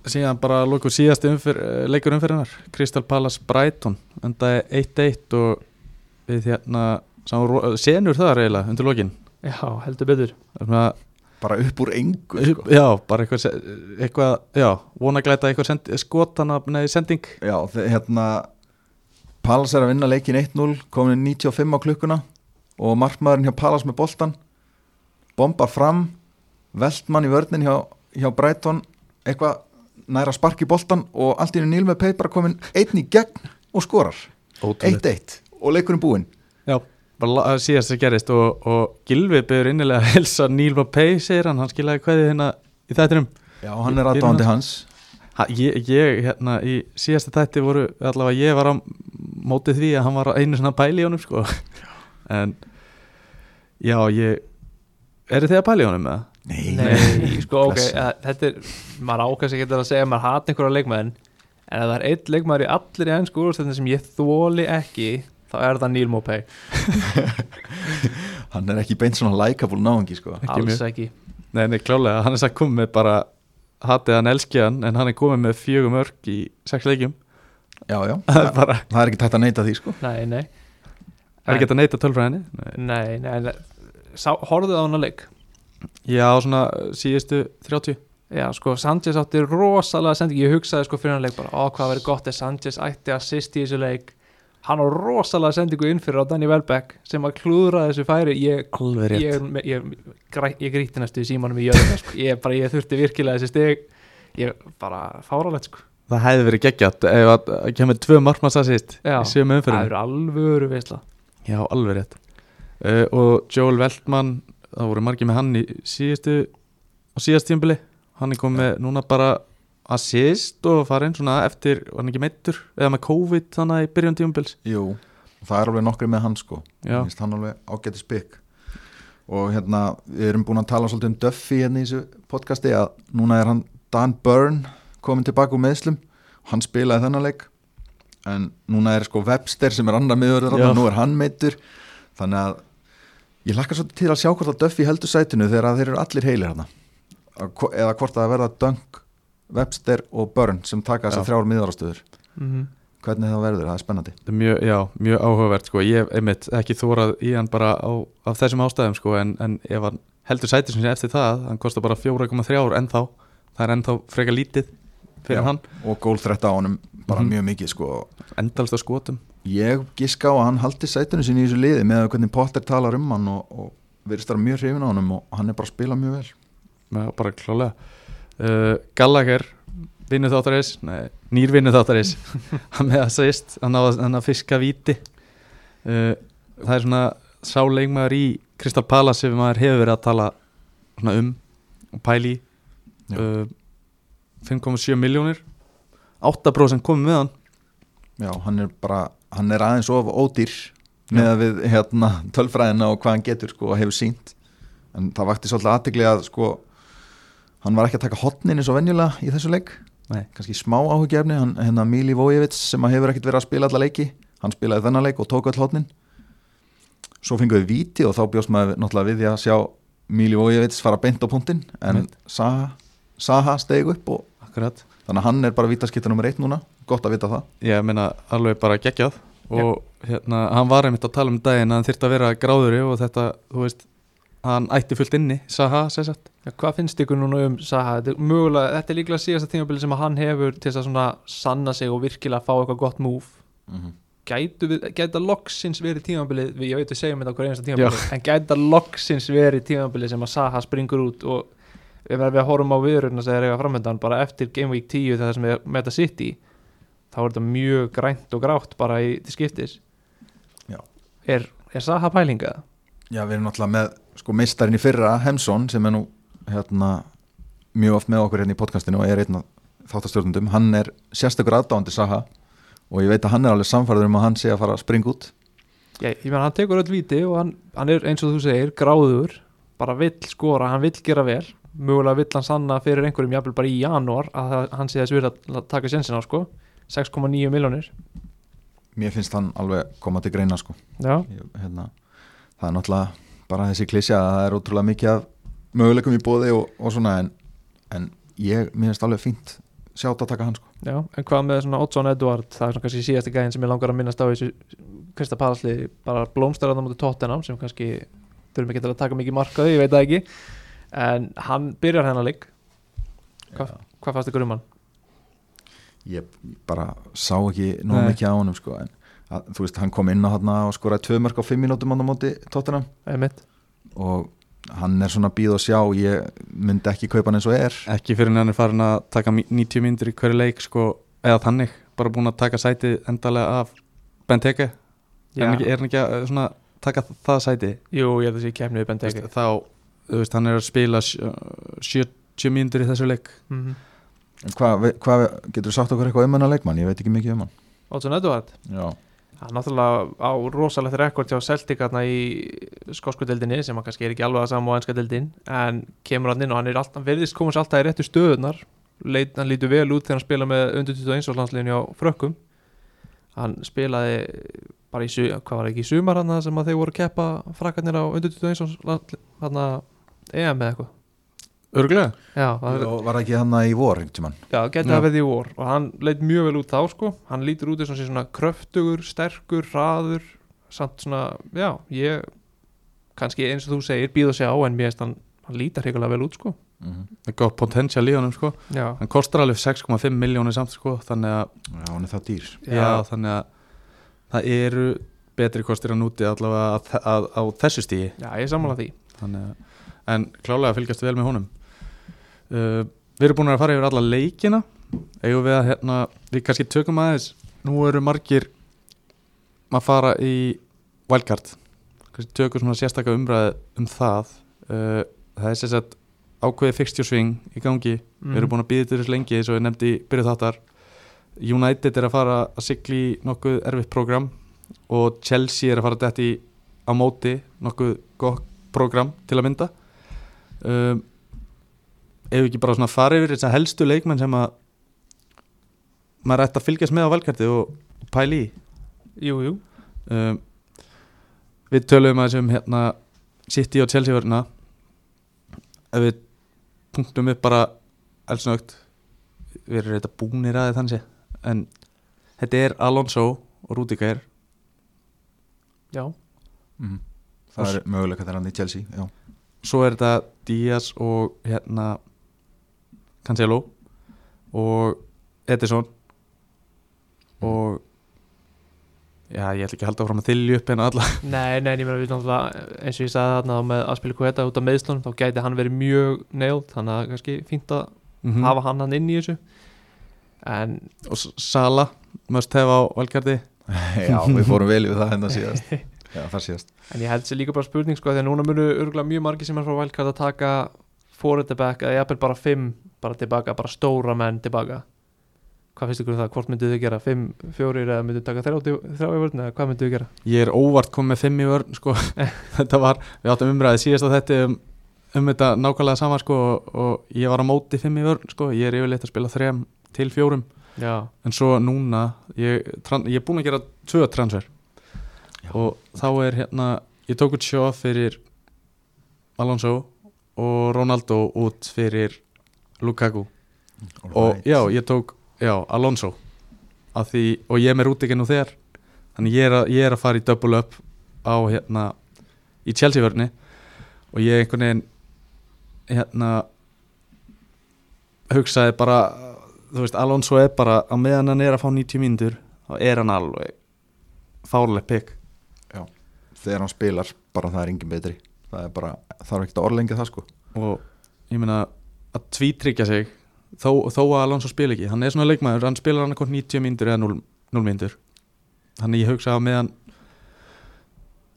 síðan bara lóku síðast umfyr, eh, leikur umfyrirnar Crystal Palace Brighton endaði 1-1 og við hérna sáum ro- senur þar eiginlega undir lokin já, heldur betur Svona, bara upp úr engu sko. Já, bara eitthvað, se- eitthvað já, vona glæta eitthvað send, skotana, nei, sending já, þe- hérna Palas er að vinna leikin 1-0 komin í 95 á klukkuna og markmaðurinn hjá Palas með boltan bombar fram veltmann í vörnin hjá, hjá Brighton eitthvað næra spark í boltan og allt í einu Níl með peit bara komin einn í gegn og skorar 1-1 og leikurinn búinn Já, bara la- það síðast sem gerist og, og Gilvi byrður innilega að helsa Neil Mapei, segir hann, hann skilaði hverði hérna í þættinum. já, hann er Fyrir aðdáðandi hans Ha, ég, ég, hérna, í síðasta þætti voru, allavega ég var á mótið því að hann var einu svona pæli í honum, sko. En, já, ég, eru þið að pæli í honum með það? Nei, sko, ok, Bless. að, þetta er maður ákast ekki að segja að maður hati einhverja leikmaðin en ef það er einn leikmaður í allir í ennsku úrstöndin sem ég þóli ekki þá er það Neil Mopay, hann er ekki beint svona likeable náðungi sko. Ekki alls mjög. ekki Nei, nei, klálega, hann er satt komið með bara, hatið hann elski hann, en hann er komið með fjögum örk í sex leikjum. já, já, Það er það bara, er ekki tætt að neyta því sko. Nei, nei, það er ekki hægt að neita tölfræðinni. Nei. nei, nei, nei. Sá, horfðu á hann að leik Já, svona uh, síðustu 30. Já, sko, Sanchez átti rosalega sending Ég hugsaði sko fyrir hann leik bara Ó, hvað verið gott ef Sanchez ætti assist í þessu leik Hann á rosalega sendingu inn fyrir á Danny Welbeck sem að klúðra þessu færi Ég, Alveg ég, ég, ég, græ, ég gríti næstu í símanum í jörðum sko. ég, bara, ég þurfti virkilega þessi stig Ég bara fáralegt sko Það hefði verið geggjart ef að að kemur tvö markmanns að síst Já. í sömu Það umfyrir eru alvöru veisla Já, alveg rétt uh, og Joel Veltmann það voru margir með hann í síðustu á síðast tímbili hann er komið með núna bara assist og farinn svona eftir, var hann ekki meittur eða með COVID þannig í byrjun tíumbils Jú, og það er alveg nokkri með hann sko Já, Mér finnst hann alveg ágæti spik og hérna, við erum búin að tala svolítið um Duffy hérna í þessu podcasti að núna er hann Dan Byrne komin tilbaka úr meðslum og hann spilaði þennan leik en núna er sko Webster sem er annar miður Já. og nú er hann meittur þannig að ég lakka svolítið til að sjá hvort að Duffy heldur sætinu þegar að þeir eru allir heilir hérna Að hvo- eða hvort að það verða Dunk, Webster og Byrne sem taka þessar Já. þrjár miðarastöður mm hvernig það verður, það er spennandi þetta er mjög, já, mjög áhugavert sko. ég hef einmitt ekki þórað í hann bara á, af þessum ástæðum sko, en, en ef hann heldur sætið sinni eftir það hann kostar bara 4,3 ár ennþá það er ennþá frekar lítið fyrir Já. hann, og gólþrætt á honum bara Mhm. mjög mikið sko endalst á skotum Ég giska á að hann haldi sætunum sinni í þessu liði með að hvernig Potter talar um hann og, og verðist þar mjög hrifin á honum og hann er bara að spila mjög vel. Já, bara klálega uh, Gallagher, vinnu þáttaris nei, nýr vinnu þáttaris hann með að segist, hann á að, hann að fiska víti uh, það er svona sáleikmaður í Kristal Palace sem maður hefur verið að tala svona um og pæli í. Já. uh, 5,7 miljónir 8% komið með hann Já, hann er bara, hann er aðeins of ódýr með að við hérna tölfræðina og hvað hann getur sko og hefur sínt. En það vakti svolítið aðtegli að sko hann var ekki að taka hotnin eins og venjulega í þessu leik. Nei. Kanski smá áhugjefni, hann, hérna Mili Vojevits sem að hefur ekkert verið að spila alla leiki, hann spilaði þennan leik og tók öll hotnin. Svo fengum við víti og þá bjóst maður náttúrulega við því að sjá Mili Vojevits fara beint á punktinn en Einmitt. Saha, Saha steig upp og akkurat, þannig að hann er bara vítaskipta nummer eitt núna, gott að vita það. ég meina alveg bara geggjað og hérna, hann var einmitt að tala um daginn að hann þyrfti að vera gráðuri og þetta, þú veist hann ætti fullt inni, Saha, segja satt Já, hvað finnst ykkur núna um Saha? Þetta er, mögulega, þetta er líklega síðasta tímabili sem að hann hefur til þess að svona sanna sig og virkilega fá eitthvað gott múf gætu við, gæta loksins verið tímabilið við, ég veit við segjum þetta okkur einasta tímabilið en gæta loksins verið tímabilið sem að Saha springur út og ef við horfum á viðurinn að segja reyga framöndan bara eftir Game Week 10 þegar sem við meta City þá er þetta mjög grænt og grátt bara í, til skiptis Já. er, er Saha pælinga? Já, við erum náttúrulega með sko meistarinn í fyrra, Hemsson, sem er nú hérna mjög oft með okkur hérna í podcastinu og er einn af þáttastjórnundum, hann er sérstakur aðdáandi Saha og ég veit að hann er alveg samfærður um að hann sé að fara að springa út Ég, ég menn hann tekur öll víti og hann, hann er eins og þú segir gráður bara vill skora, hann vill gera vel mögulega vill hann sanna fyrir einhverjum jafnvel bara í janúar að það- hann sé þess verið að að taka sjensin á sko 6,9 miljónir Mér finnst hann alveg koma til greina sko Já, ég, hérna, það er náttúrulega bara þessi klísja að það er ótrúlega mikið af möguleikum í bóði og, og svona en, en ég, mér finnst alveg fínt sjátt að taka hann sko já, en hvað með svona Oddsson Edward, það er svona kannski síðasta gæðin sem ég langar að minnast á í þessu Krista Palasli bara blómstæraðan mútið Tottenham sem kannski þurfum ekki að taka mikið markaði, ég veit það ekki en hann byrjar hennar leik Hvað- Já. hvað fannst ykkur um hann? ég bara sá ekki Nei. nóg mikið á honum sko en að, þú veist hann kom inn á hann og skoraði tvö mörg á fimm mínútum hann á móti tóttunum Einmitt. og hann er svona býð og sjá ég myndi ekki kaupa hann eins og er ekki fyrir en hann er farin að taka mí- 90 myndir í hverju leik sko, eða þannig, bara búin að taka sætið endalega af Benteke er hann ekki, er hann ekki að eh, svona, taka þ- það sæti Jú, ég held að sé kemni við Þú Benteke veist, þá, þú veist, hann er að spila sjö- eh, 70 myndir í þessu leik mm -hmm. En hvað hva, getur þú sagt okkur eitthvað um hennar leikmann ég veit ekki mikið um hann Oddsson Edward já, hann náttúrulega á rosalegt rekord hjá Celtic hérna í skoskudeldinni sem hann kannski er ekki alveg að sama á enska deldin en kemur hann inn og hann er alltaf verðist komast alltaf í réttu stöðunar Leit, hann lítur vel út þegar hann spila með undir 21 landsliðinu á frökkum hann spilaði bara í, su- hvað var það ekki, í sumar hann sem að þeir voru að keppa frakkarnir á undir 21 hann að EM eða eitthvað Örglega? já, það er og var ekki hann í vor einhvern tímann Já, geti Já. það verið í vor og hann leit mjög vel út þá sko hann lítur út eins og sé svona kröftugur, sterkur, hraður samt svona, já, ég kannski eins og þú segir, býð og sjá en mér finnst hann, hann lítar hreikulega vel út sko Mhm. Það er gott potential í honum sko Já, hann kostar alveg 6,5 miljónir samt sko þannig að, já, hann er það dýr já. þannig að það eru betri kostir að núti allavega að, að, á þessu stíi já ég sammála því þannig að, en klálega fylgjast vel með honum uh, við erum búin að fara yfir alla leikina eigum við að hérna, við kannski tökum aðeins nú eru margir að fara í wildcard kannski tökum svona sérstaka umræði um það uh, það er sérstætt ákveðið fixtjósving í gangi við Mm. erum búin að býða til þess lengi eins og ég nefndi í byrjuð þáttar United er að fara að sigli í nokkuð erfitt program og Chelsea er að fara dætt í á móti nokkuð gott program til að mynda um, ef við ekki bara svona fara yfir þess helstu leikmenn sem að maður ætti að fylgjast með á velkarti og pæli í Jú, jú, um, við töluðum að þessum hérna City og Chelsea verðina ef við punktum upp bara elsnögt við erum þetta búnir aðeins þannig séð. en þetta er Alonso og Rudiger já mm. það er möguleika þegar hann í Chelsea já. svo er þetta Díaz og hérna Cancelo og Edison og já ég ætla ekki að halda áfram að þylju upp hérna alla Nei, nei, en ég meina við náttúrulega eins og ég sagði þarna þá með Aspili Kveta út af meðslunum þá gæti hann verið mjög neild þannig að það er kannski fínt að Mhm. hafa hann hann inn í þessu en og S- Sala must have á valkarti já, við fórum vel yfir það hérna síðast já, það síðast En ég held sér líka bara spurning sko Þegar núna munu örgulega mjög margir sem er frá Wildcard að taka Foretaback eða jafnvel bara fimm Bara tilbaka, bara stóra menn tilbaka Hvað finnst ykkur um það? Hvort myndu þau gera? Fimm, fjórir eða myndu taka þrjá þrjá í vörðinu? Hvað myndu þau gera? ég er óvart komið með fimm í vörn sko. þetta var, við áttum umræðið síðast á þetta um, um þetta nákvæmlega sama sko, og, og ég var á móti fimm í vörn sko. ég er yfirleitt að spila þrem til fjórum Já, en svo núna ég, tran, ég er búinn að gera tvö transfer Já. og þá er hérna ég tók út sjó fyrir Alonso og Ronaldo út fyrir Lukaku og já, ég tók já, Alonso Af því, og ég er með Rúdikinn og þér þannig ég er, að, ég er að fara í double up á hérna í Chelsea vörni og ég einhvern veginn hérna hugsaði bara þú veist, Alonso er bara á meðan hann er að fá 90 mínútur þá er hann alveg fárlega pikk þegar hann spilar, bara það er engin betri það er bara, þarf ekkert að orðlengja það sko og ég meina að tvítryggja sig þó, þó að Alonso spila ekki, hann er svona leikmaður hann spilar hann 90 myndur eða 0, 0 myndur þannig ég hugsa að meðan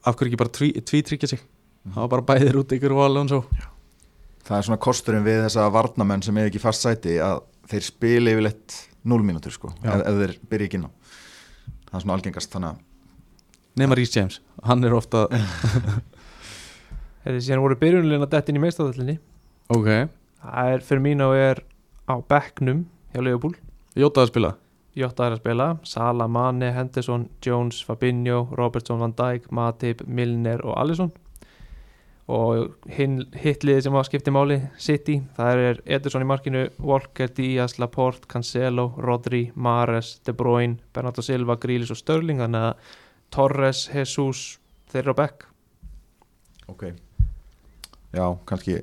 af hverju ekki bara tví, tvítryggja sig Mhm. það var bara bæðir út ykkur og Alonso það er svona kosturinn við þessa varnamenn sem er ekki í fast sæti að þeir spila yfirleitt 0 mínútur sko, Já. ef, ef þeir byrja ekki inn á það er svona algengast þannig að nema Rhys James, hann er ofta þegar síðan voru byrjunulina dett inn í meistadallinni ok, Það er fyrir mín og er á bekknum hjá Leopold Jóta að spila Jótt aðra að spila Sala, Mane, Henderson, Jones, Fabinho, Robertson, Van Dijk, Matip, Milner og Alisson og hinn hitliði sem var skipti máli City, það er Ederson í markinu Walker, Díaz, Laporte, Cancelo Rodri, Mares, De Bruyne Bernardo Silva, Grealish og Störling þannig að Torres, Jesus þeir eru á bekk ok já, kannski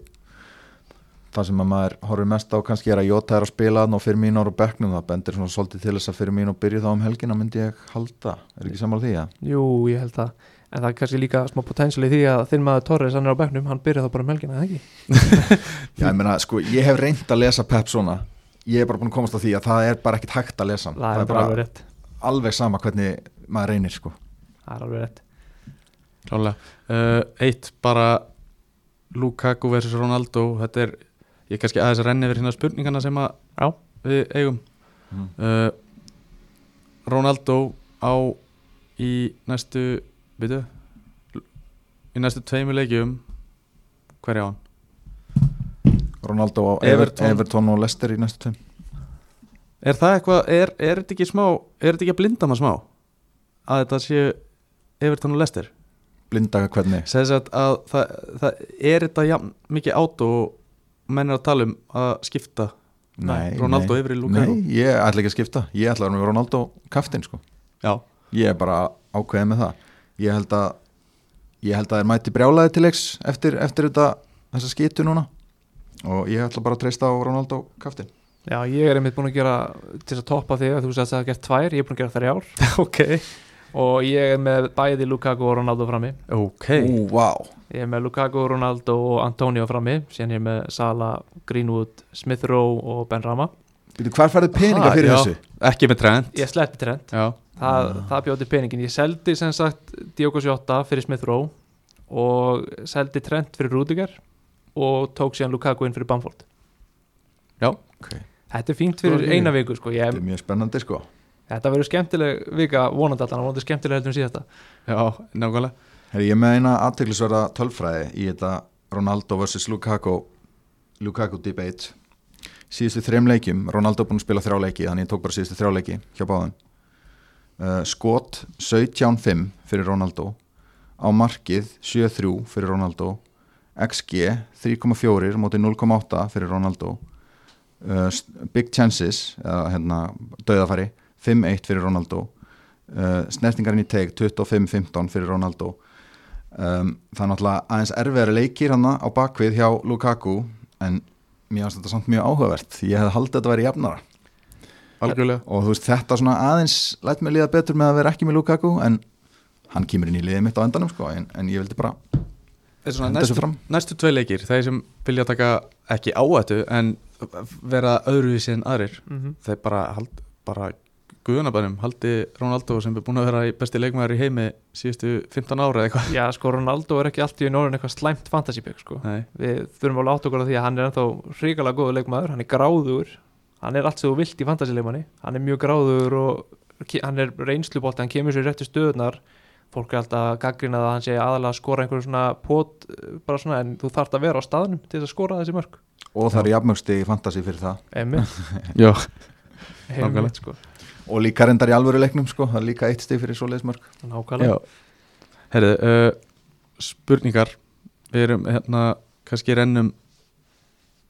það sem að maður horfir mest á kannski er að Jota er að spila þarna og fyrir mín ára bekknum það bendir svona svolítið til þess að fyrir mín og byrja þá um helgina myndi ég halda, er ekki sammála því að Jú, ég held það en það er kannski líka smá potential í því að þinn maður Torres hann er á bekknum, hann byrja þá bara um helgina, eða ekki? já, ég meina, sko, ég hef reynd að lesa Pep svona ég er bara búin að komast á því að það er bara ekkit hægt að lesa hann. Það er bara alveg rétt alveg sama hvernig maður reynir sko. Það er alveg rétt Klálega. Uh, eitt bara Lukaku versus Ronaldo þetta er, ég kannski aðeins að renna yfir hérna spurningana sem að Já. við eigum Mm. uh, Ronaldo á í næstu byrju í næstu tveimu leikjum hverja á hann? Ronaldo og Everton. Everton. Everton og Leicester í næstu tveim Er það eitthvað, er, er þetta ekki smá er þetta ekki að blinda maður smá að þetta séu Everton og Lester blindaka hvernig segðis að, að það, það er þetta jafn, mikið át og menn er að tala um að skipta nei, Ronaldo nei. yfir í Lukaku nei, ég ætla ekki að skipta ég ætla að vera með Ronaldo kaftin sko. Já, ég er bara ákveðið með það ég held að ég held að þeir mæti brjálaði til leiks eftir, eftir þetta, þessa skitu núna og ég ætla bara að treysta á Ronaldo kaftin Já, ég er einmitt búin að gera til þess að toppa þig að þú sagðist að það er gert tvær, ég er búin að gera þrjár ok og ég er með bæði Lukaku og Ronaldo frammi Ok, ú, vá ég er með Lukaku, Ronaldo og Antonio frammi síðan ég er með Sala, Greenwood, Smith Rowe og Ben Rama Býtu, hvar færðu peninga Ha, fyrir já. þessu? ekki með trend ég sleppti trend, Já, það, það bjóti peningin ég seldi sem sagt Diogo Sjóta fyrir Smith Rowe og seldi trend fyrir Rudiger og tók síðan Lukaku inn fyrir Bamford Já. Ok. Þetta er fínt fyrir Stóra eina viku sko. ég, Þetta er mjög spennandi sko Þetta verður skemmtileg vika vonandi allan vonandi skemmtileg heldur en síðasta Já, nákvæmlega Herri, ég er með eina aðteglisverða tölfræði í þetta Ronaldo vs. Lukaku Lukaku debate síðustu þrem leikjum, Ronaldo búinn að spila þrjá leiki þannig ég tók bara síðustu þrjá leiki hjá báðum uh, skot 17-5 fyrir Ronaldo á markið 7-3 fyrir Ronaldo XG 3,4 móti 0,8 fyrir Ronaldo uh, s- Big Chances eða hérna döðafæri 5-1 fyrir Ronaldo uh, snertingarinn í teg 25-15 fyrir Ronaldo um, það er náttúrulega aðeins erfiðari leikir hann á bakvið hjá Lukaku en mér finnst þetta samt mjög áhugavert ég hefði haldið að þetta væri jafnara Algjörlega og þú veist þetta svona aðeins lætt mér líða betur með að vera ekki með Lukaku en hann kemur inn í liðið mitt á endanum sko en, en ég vildi bara Þetta er svona henda þessu næstu, fram næstu tvei leikir þeir sem vilja taka ekki áættu en vera öðruvísi en aðrir mm þeir bara, hald, bara guðunabænum haldi Ronaldo sem er búin að vera í besti leikmæður í heimi síðustu 15 ára eða eitthvað Já sko Ronaldo er ekki allt í norðin eitthvað slæmt fantasybygg sko. Nei, Við þurfum alveg að átta okkur á því að hann er ennþá hrikalega góður leikmaður, hann er gráður hann er allt sem þú vilt í fantasileikmanni hann er mjög gráður og ke- hann er reynslubolti, hann kemur sér í réttu stöðunar fólk er alltaf að gaggrina það að hann sé aðalega að skora einhverjum svona pot eh, bara svona en þú þarft að vera á staðnum til þess að skora þessi mörg og það er jafnmjögsti í fantasy fyrir það einmitt, já, Nákvæmlega. einmitt sko og líka reyndar í alvöru leiknum sko það er líka eitt stig fyrir svoleiðismörk nákvæmlega, já. Herðu, uh, spurningar við erum hérna kannski rennum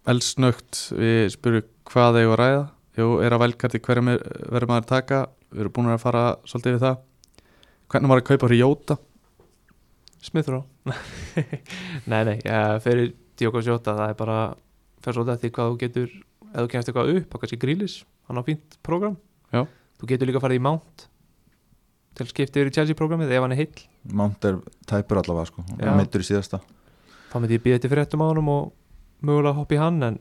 elsnögt við spurum hvað eigum að ræða Jú, er að velkarti hverjum er- verður maður að taka við erum búin að fara svolítið við það hvernig maður að kaupa fyrir Jóta Smith Rowe Nei, nei, ja, fyrir Diogo Jota það er bara, fer svolítið að því hvað þú getur ef þú kemst eitthvað upp, þá kannski grílis hann á fínt program Já. Þú getur líka farið í Mount til skipti yfir í Chelsea-programmið ef hann er heill Mount er tæpur allavega sko Já. mittur í síðasta þá myndi ég býða þetta fyrir ettum ánum og mögulega hoppa í hann en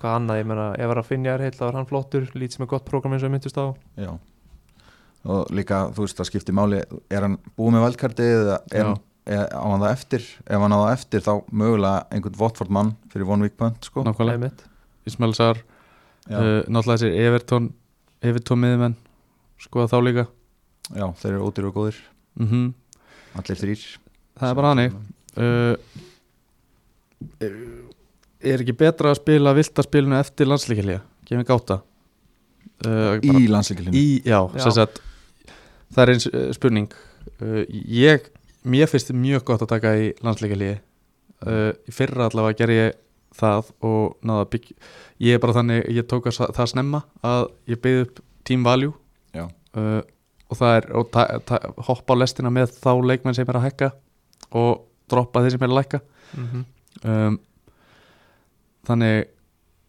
hvað annað, ég meina, ef hann að finja er heill þá er hann flottur, lít sem er gott program eins og ég myndist á Já og líka þú veist það skiptir máli er hann búið með valkartið eða er, Já. er, á hann það eftir ef hann á það eftir þá mögulega einhvern Watford mann fyrir one week punt sko nákvæmlega, Einmitt. Ismail Sar já, uh, náttúrulega þessir Evertón Evertón miðumenn, skoða þá líka já, þeir eru ódýr og góðir mm allir þrýr það er bara hannig uh, er, eh, er ekki betra að spila viltaspilinu eftir landsleikilja gefið gáta uh, í bara- landsleikilinni í já, Já. sem sagt það er eins uh, spurning uh, ég, mér finnst mjög gott að taka í landsleikalíi uh, í fyrra allavega ger ég það og náða bygg ég er bara þannig, ég tók að sa- það snemma að ég byggði upp team value Já. uh, og það er og ta, ta, hoppa á lestina með þá leikmenn sem er að hækka og droppa þeir sem er að lækka mm um, þannig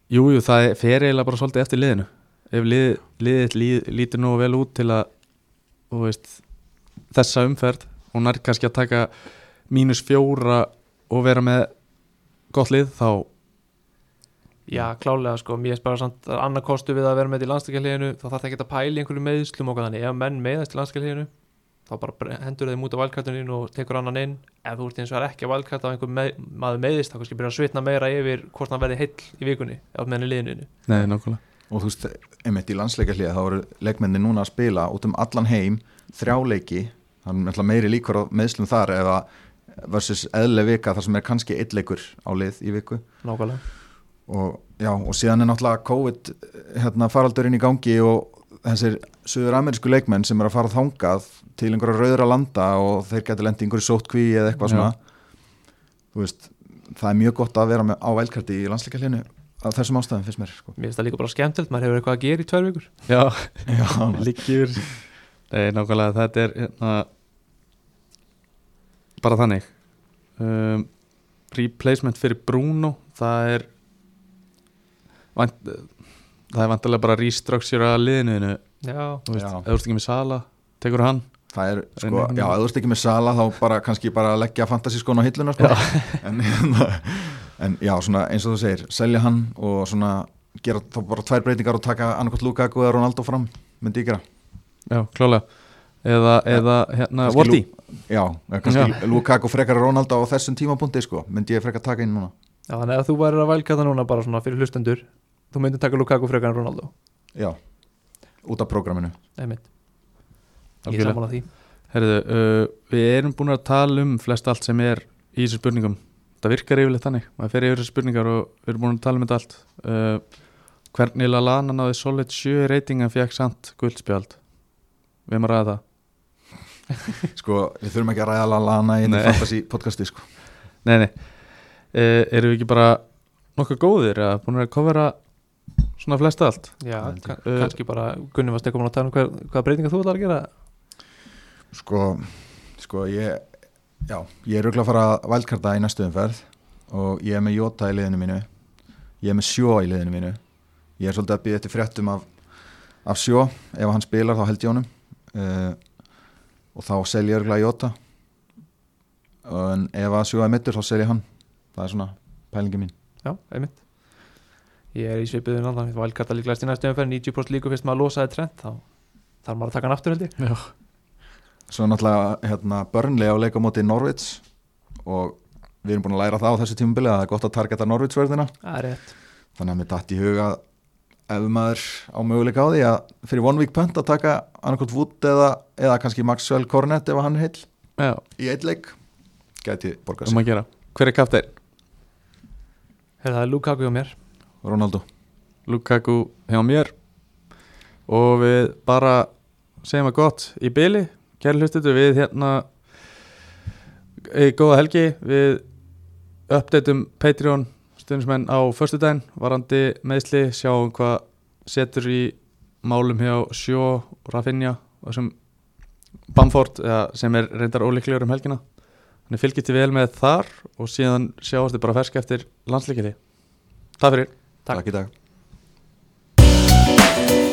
jújú, jú, það er- fer eiginlega bara svolítið eftir liðinu ef lið, liðið líð, lítur nú vel út til að þú veist, þessa umferð og nær kannski að taka mínus fjóra og vera með gott lið þá Já, klálega sko, mér er bara samt að annar kostu við að vera með þetta í landstakjarleginu þá þarf það ekki að pæla í einhverju meðslum og hvað þannig ef menn meðast í landstakjarleginu þá bara bre- hendur þeim út á valkartuninu og tekur annan inn ef þú ert eins og er ekki að valkarta á einhver með, maður meðist þá kannski byrja að svitna meira yfir hvort hann verði heill í vikunni eða meðan í liðinu Nei, nákvæmlega og þú veist, einmitt í landsleikilinni þá eru leikmenni núna að spila út um allan heim þrjáleiki, þannig að meiri líkur á meðslum þar eða versus eðlega vika þar sem er kannski eitt leikur á lið í viku Nákvæmlega og, já, og síðan er náttúrulega COVID hérna, faraldurinn í gangi og þessir söður-amerísku leikmenn sem er að fara þangað til einhverja rauðra landa og þeir getur lendið einhverju sótkví eða eitthvað Já. svona þú veist, það er mjög gott að vera með á velkarti í landsleikarlinu af þessum ástæðum finnst mér sko. Mér finnst það líka bara skemmtilt, maður hefur eitthvað að gera í tvær vikur Já, Já, líkjur Nei, nákvæmlega, þetta er hérna, bara þannig um, replacement fyrir Bruno það er vant, það er vantilega bara að restructura liðinuðinu Já, þú veist, Já. ef þú ert ekki með Sala tekur hann, það er sko, Reynir- já, ef þú ert ekki með sala þá bara kannski bara að leggja fantasískon á hilluna sko. en, en já, svona eins og þú segir selja hann og svona gera þá bara tvær breytingar og taka annarkot Lukaku eða Ronaldo fram, myndi ég gera já, klálega eða, eða hérna, Kannski Vorti, Lu- já, eða kannski Lukaku frekar Ronaldo á þessum tímapunkti sko, myndi ég frekar taka inn núna Já, þannig að ef þú værir að vælkata núna bara svona fyrir hlustendur þú myndir taka Lukaku frekar en Ronaldo já, út af prógraminu Einmitt. Ég er Algjörlega. sammála því Herðu, uh, við erum búin að tala um flest allt sem er í þessu spurningum það virkar yfirleitt þannig, maður fer yfir þessu spurningar og við erum búin að tala um þetta allt uh, hvernig Lallana náði solid 7 reyting en fekk samt guldspjald við erum að ræða það sko, við þurfum ekki að ræða Lallana í Nei. þetta fantasy podcasti sko nei, nei, uh, erum við ekki bara nokkuð góðir að búin að kofera svona flest allt Uh, Já, Það held ég. kann, kannski bara Gunni varst eitthvað búinn að tala um hver, hvaða breytingar þú ætlar að gera Sko, sko ég já, ég er auðvitað að fara að valdkarta í næstu umferð og ég er með Jota í liðinu mínu ég er með Sjó í liðinu mínu ég er svolítið að býða eftir fréttum af, af Sjó, ef hann spilar þá held ég honum uh, og þá sel ég auðvitað Jota en ef að Sjó er mittur þá sel ég hann það er svona pælingi mín Já, einmitt Ég er í svipiðun andan, þú vælkata líklegast í næstu umferð 90% líku fyrst maður losaði trend þá þarf maður að taka hann aftur held ég já, svo er náttúrulega hérna, börnlega á leika á móti Norvits og við erum búin að læra það á þessu tímubili að það er gott að targeta Norvits verðina Það er rétt þannig að mér datt í huga að ef maður á möguleika á því að fyrir one week punt að taka annarkot Wood eða, eða kannski Maxwell Cornet ef hann er heil já, í eitt leik gæti borgað um sig, að gera hver er kapteinn? Herra, það er Lukaku hjá mér Ronaldo Lukaku hjá mér og við bara segjum að gott í byli kæri hlustutu við hérna e, góða helgi við uppdeitum Patreon stundismenn á föstudaginn varandi meðsli, sjáum hvað setur í málum hjá Sjó og Rafinha og sem Bamford eða sem er reyndar ólíklegur um helgina þannig fylgjið þið vel með þar og síðan sjáast þið bara fersk eftir landsleikili Takk fyrir Takk. takk í dag Thank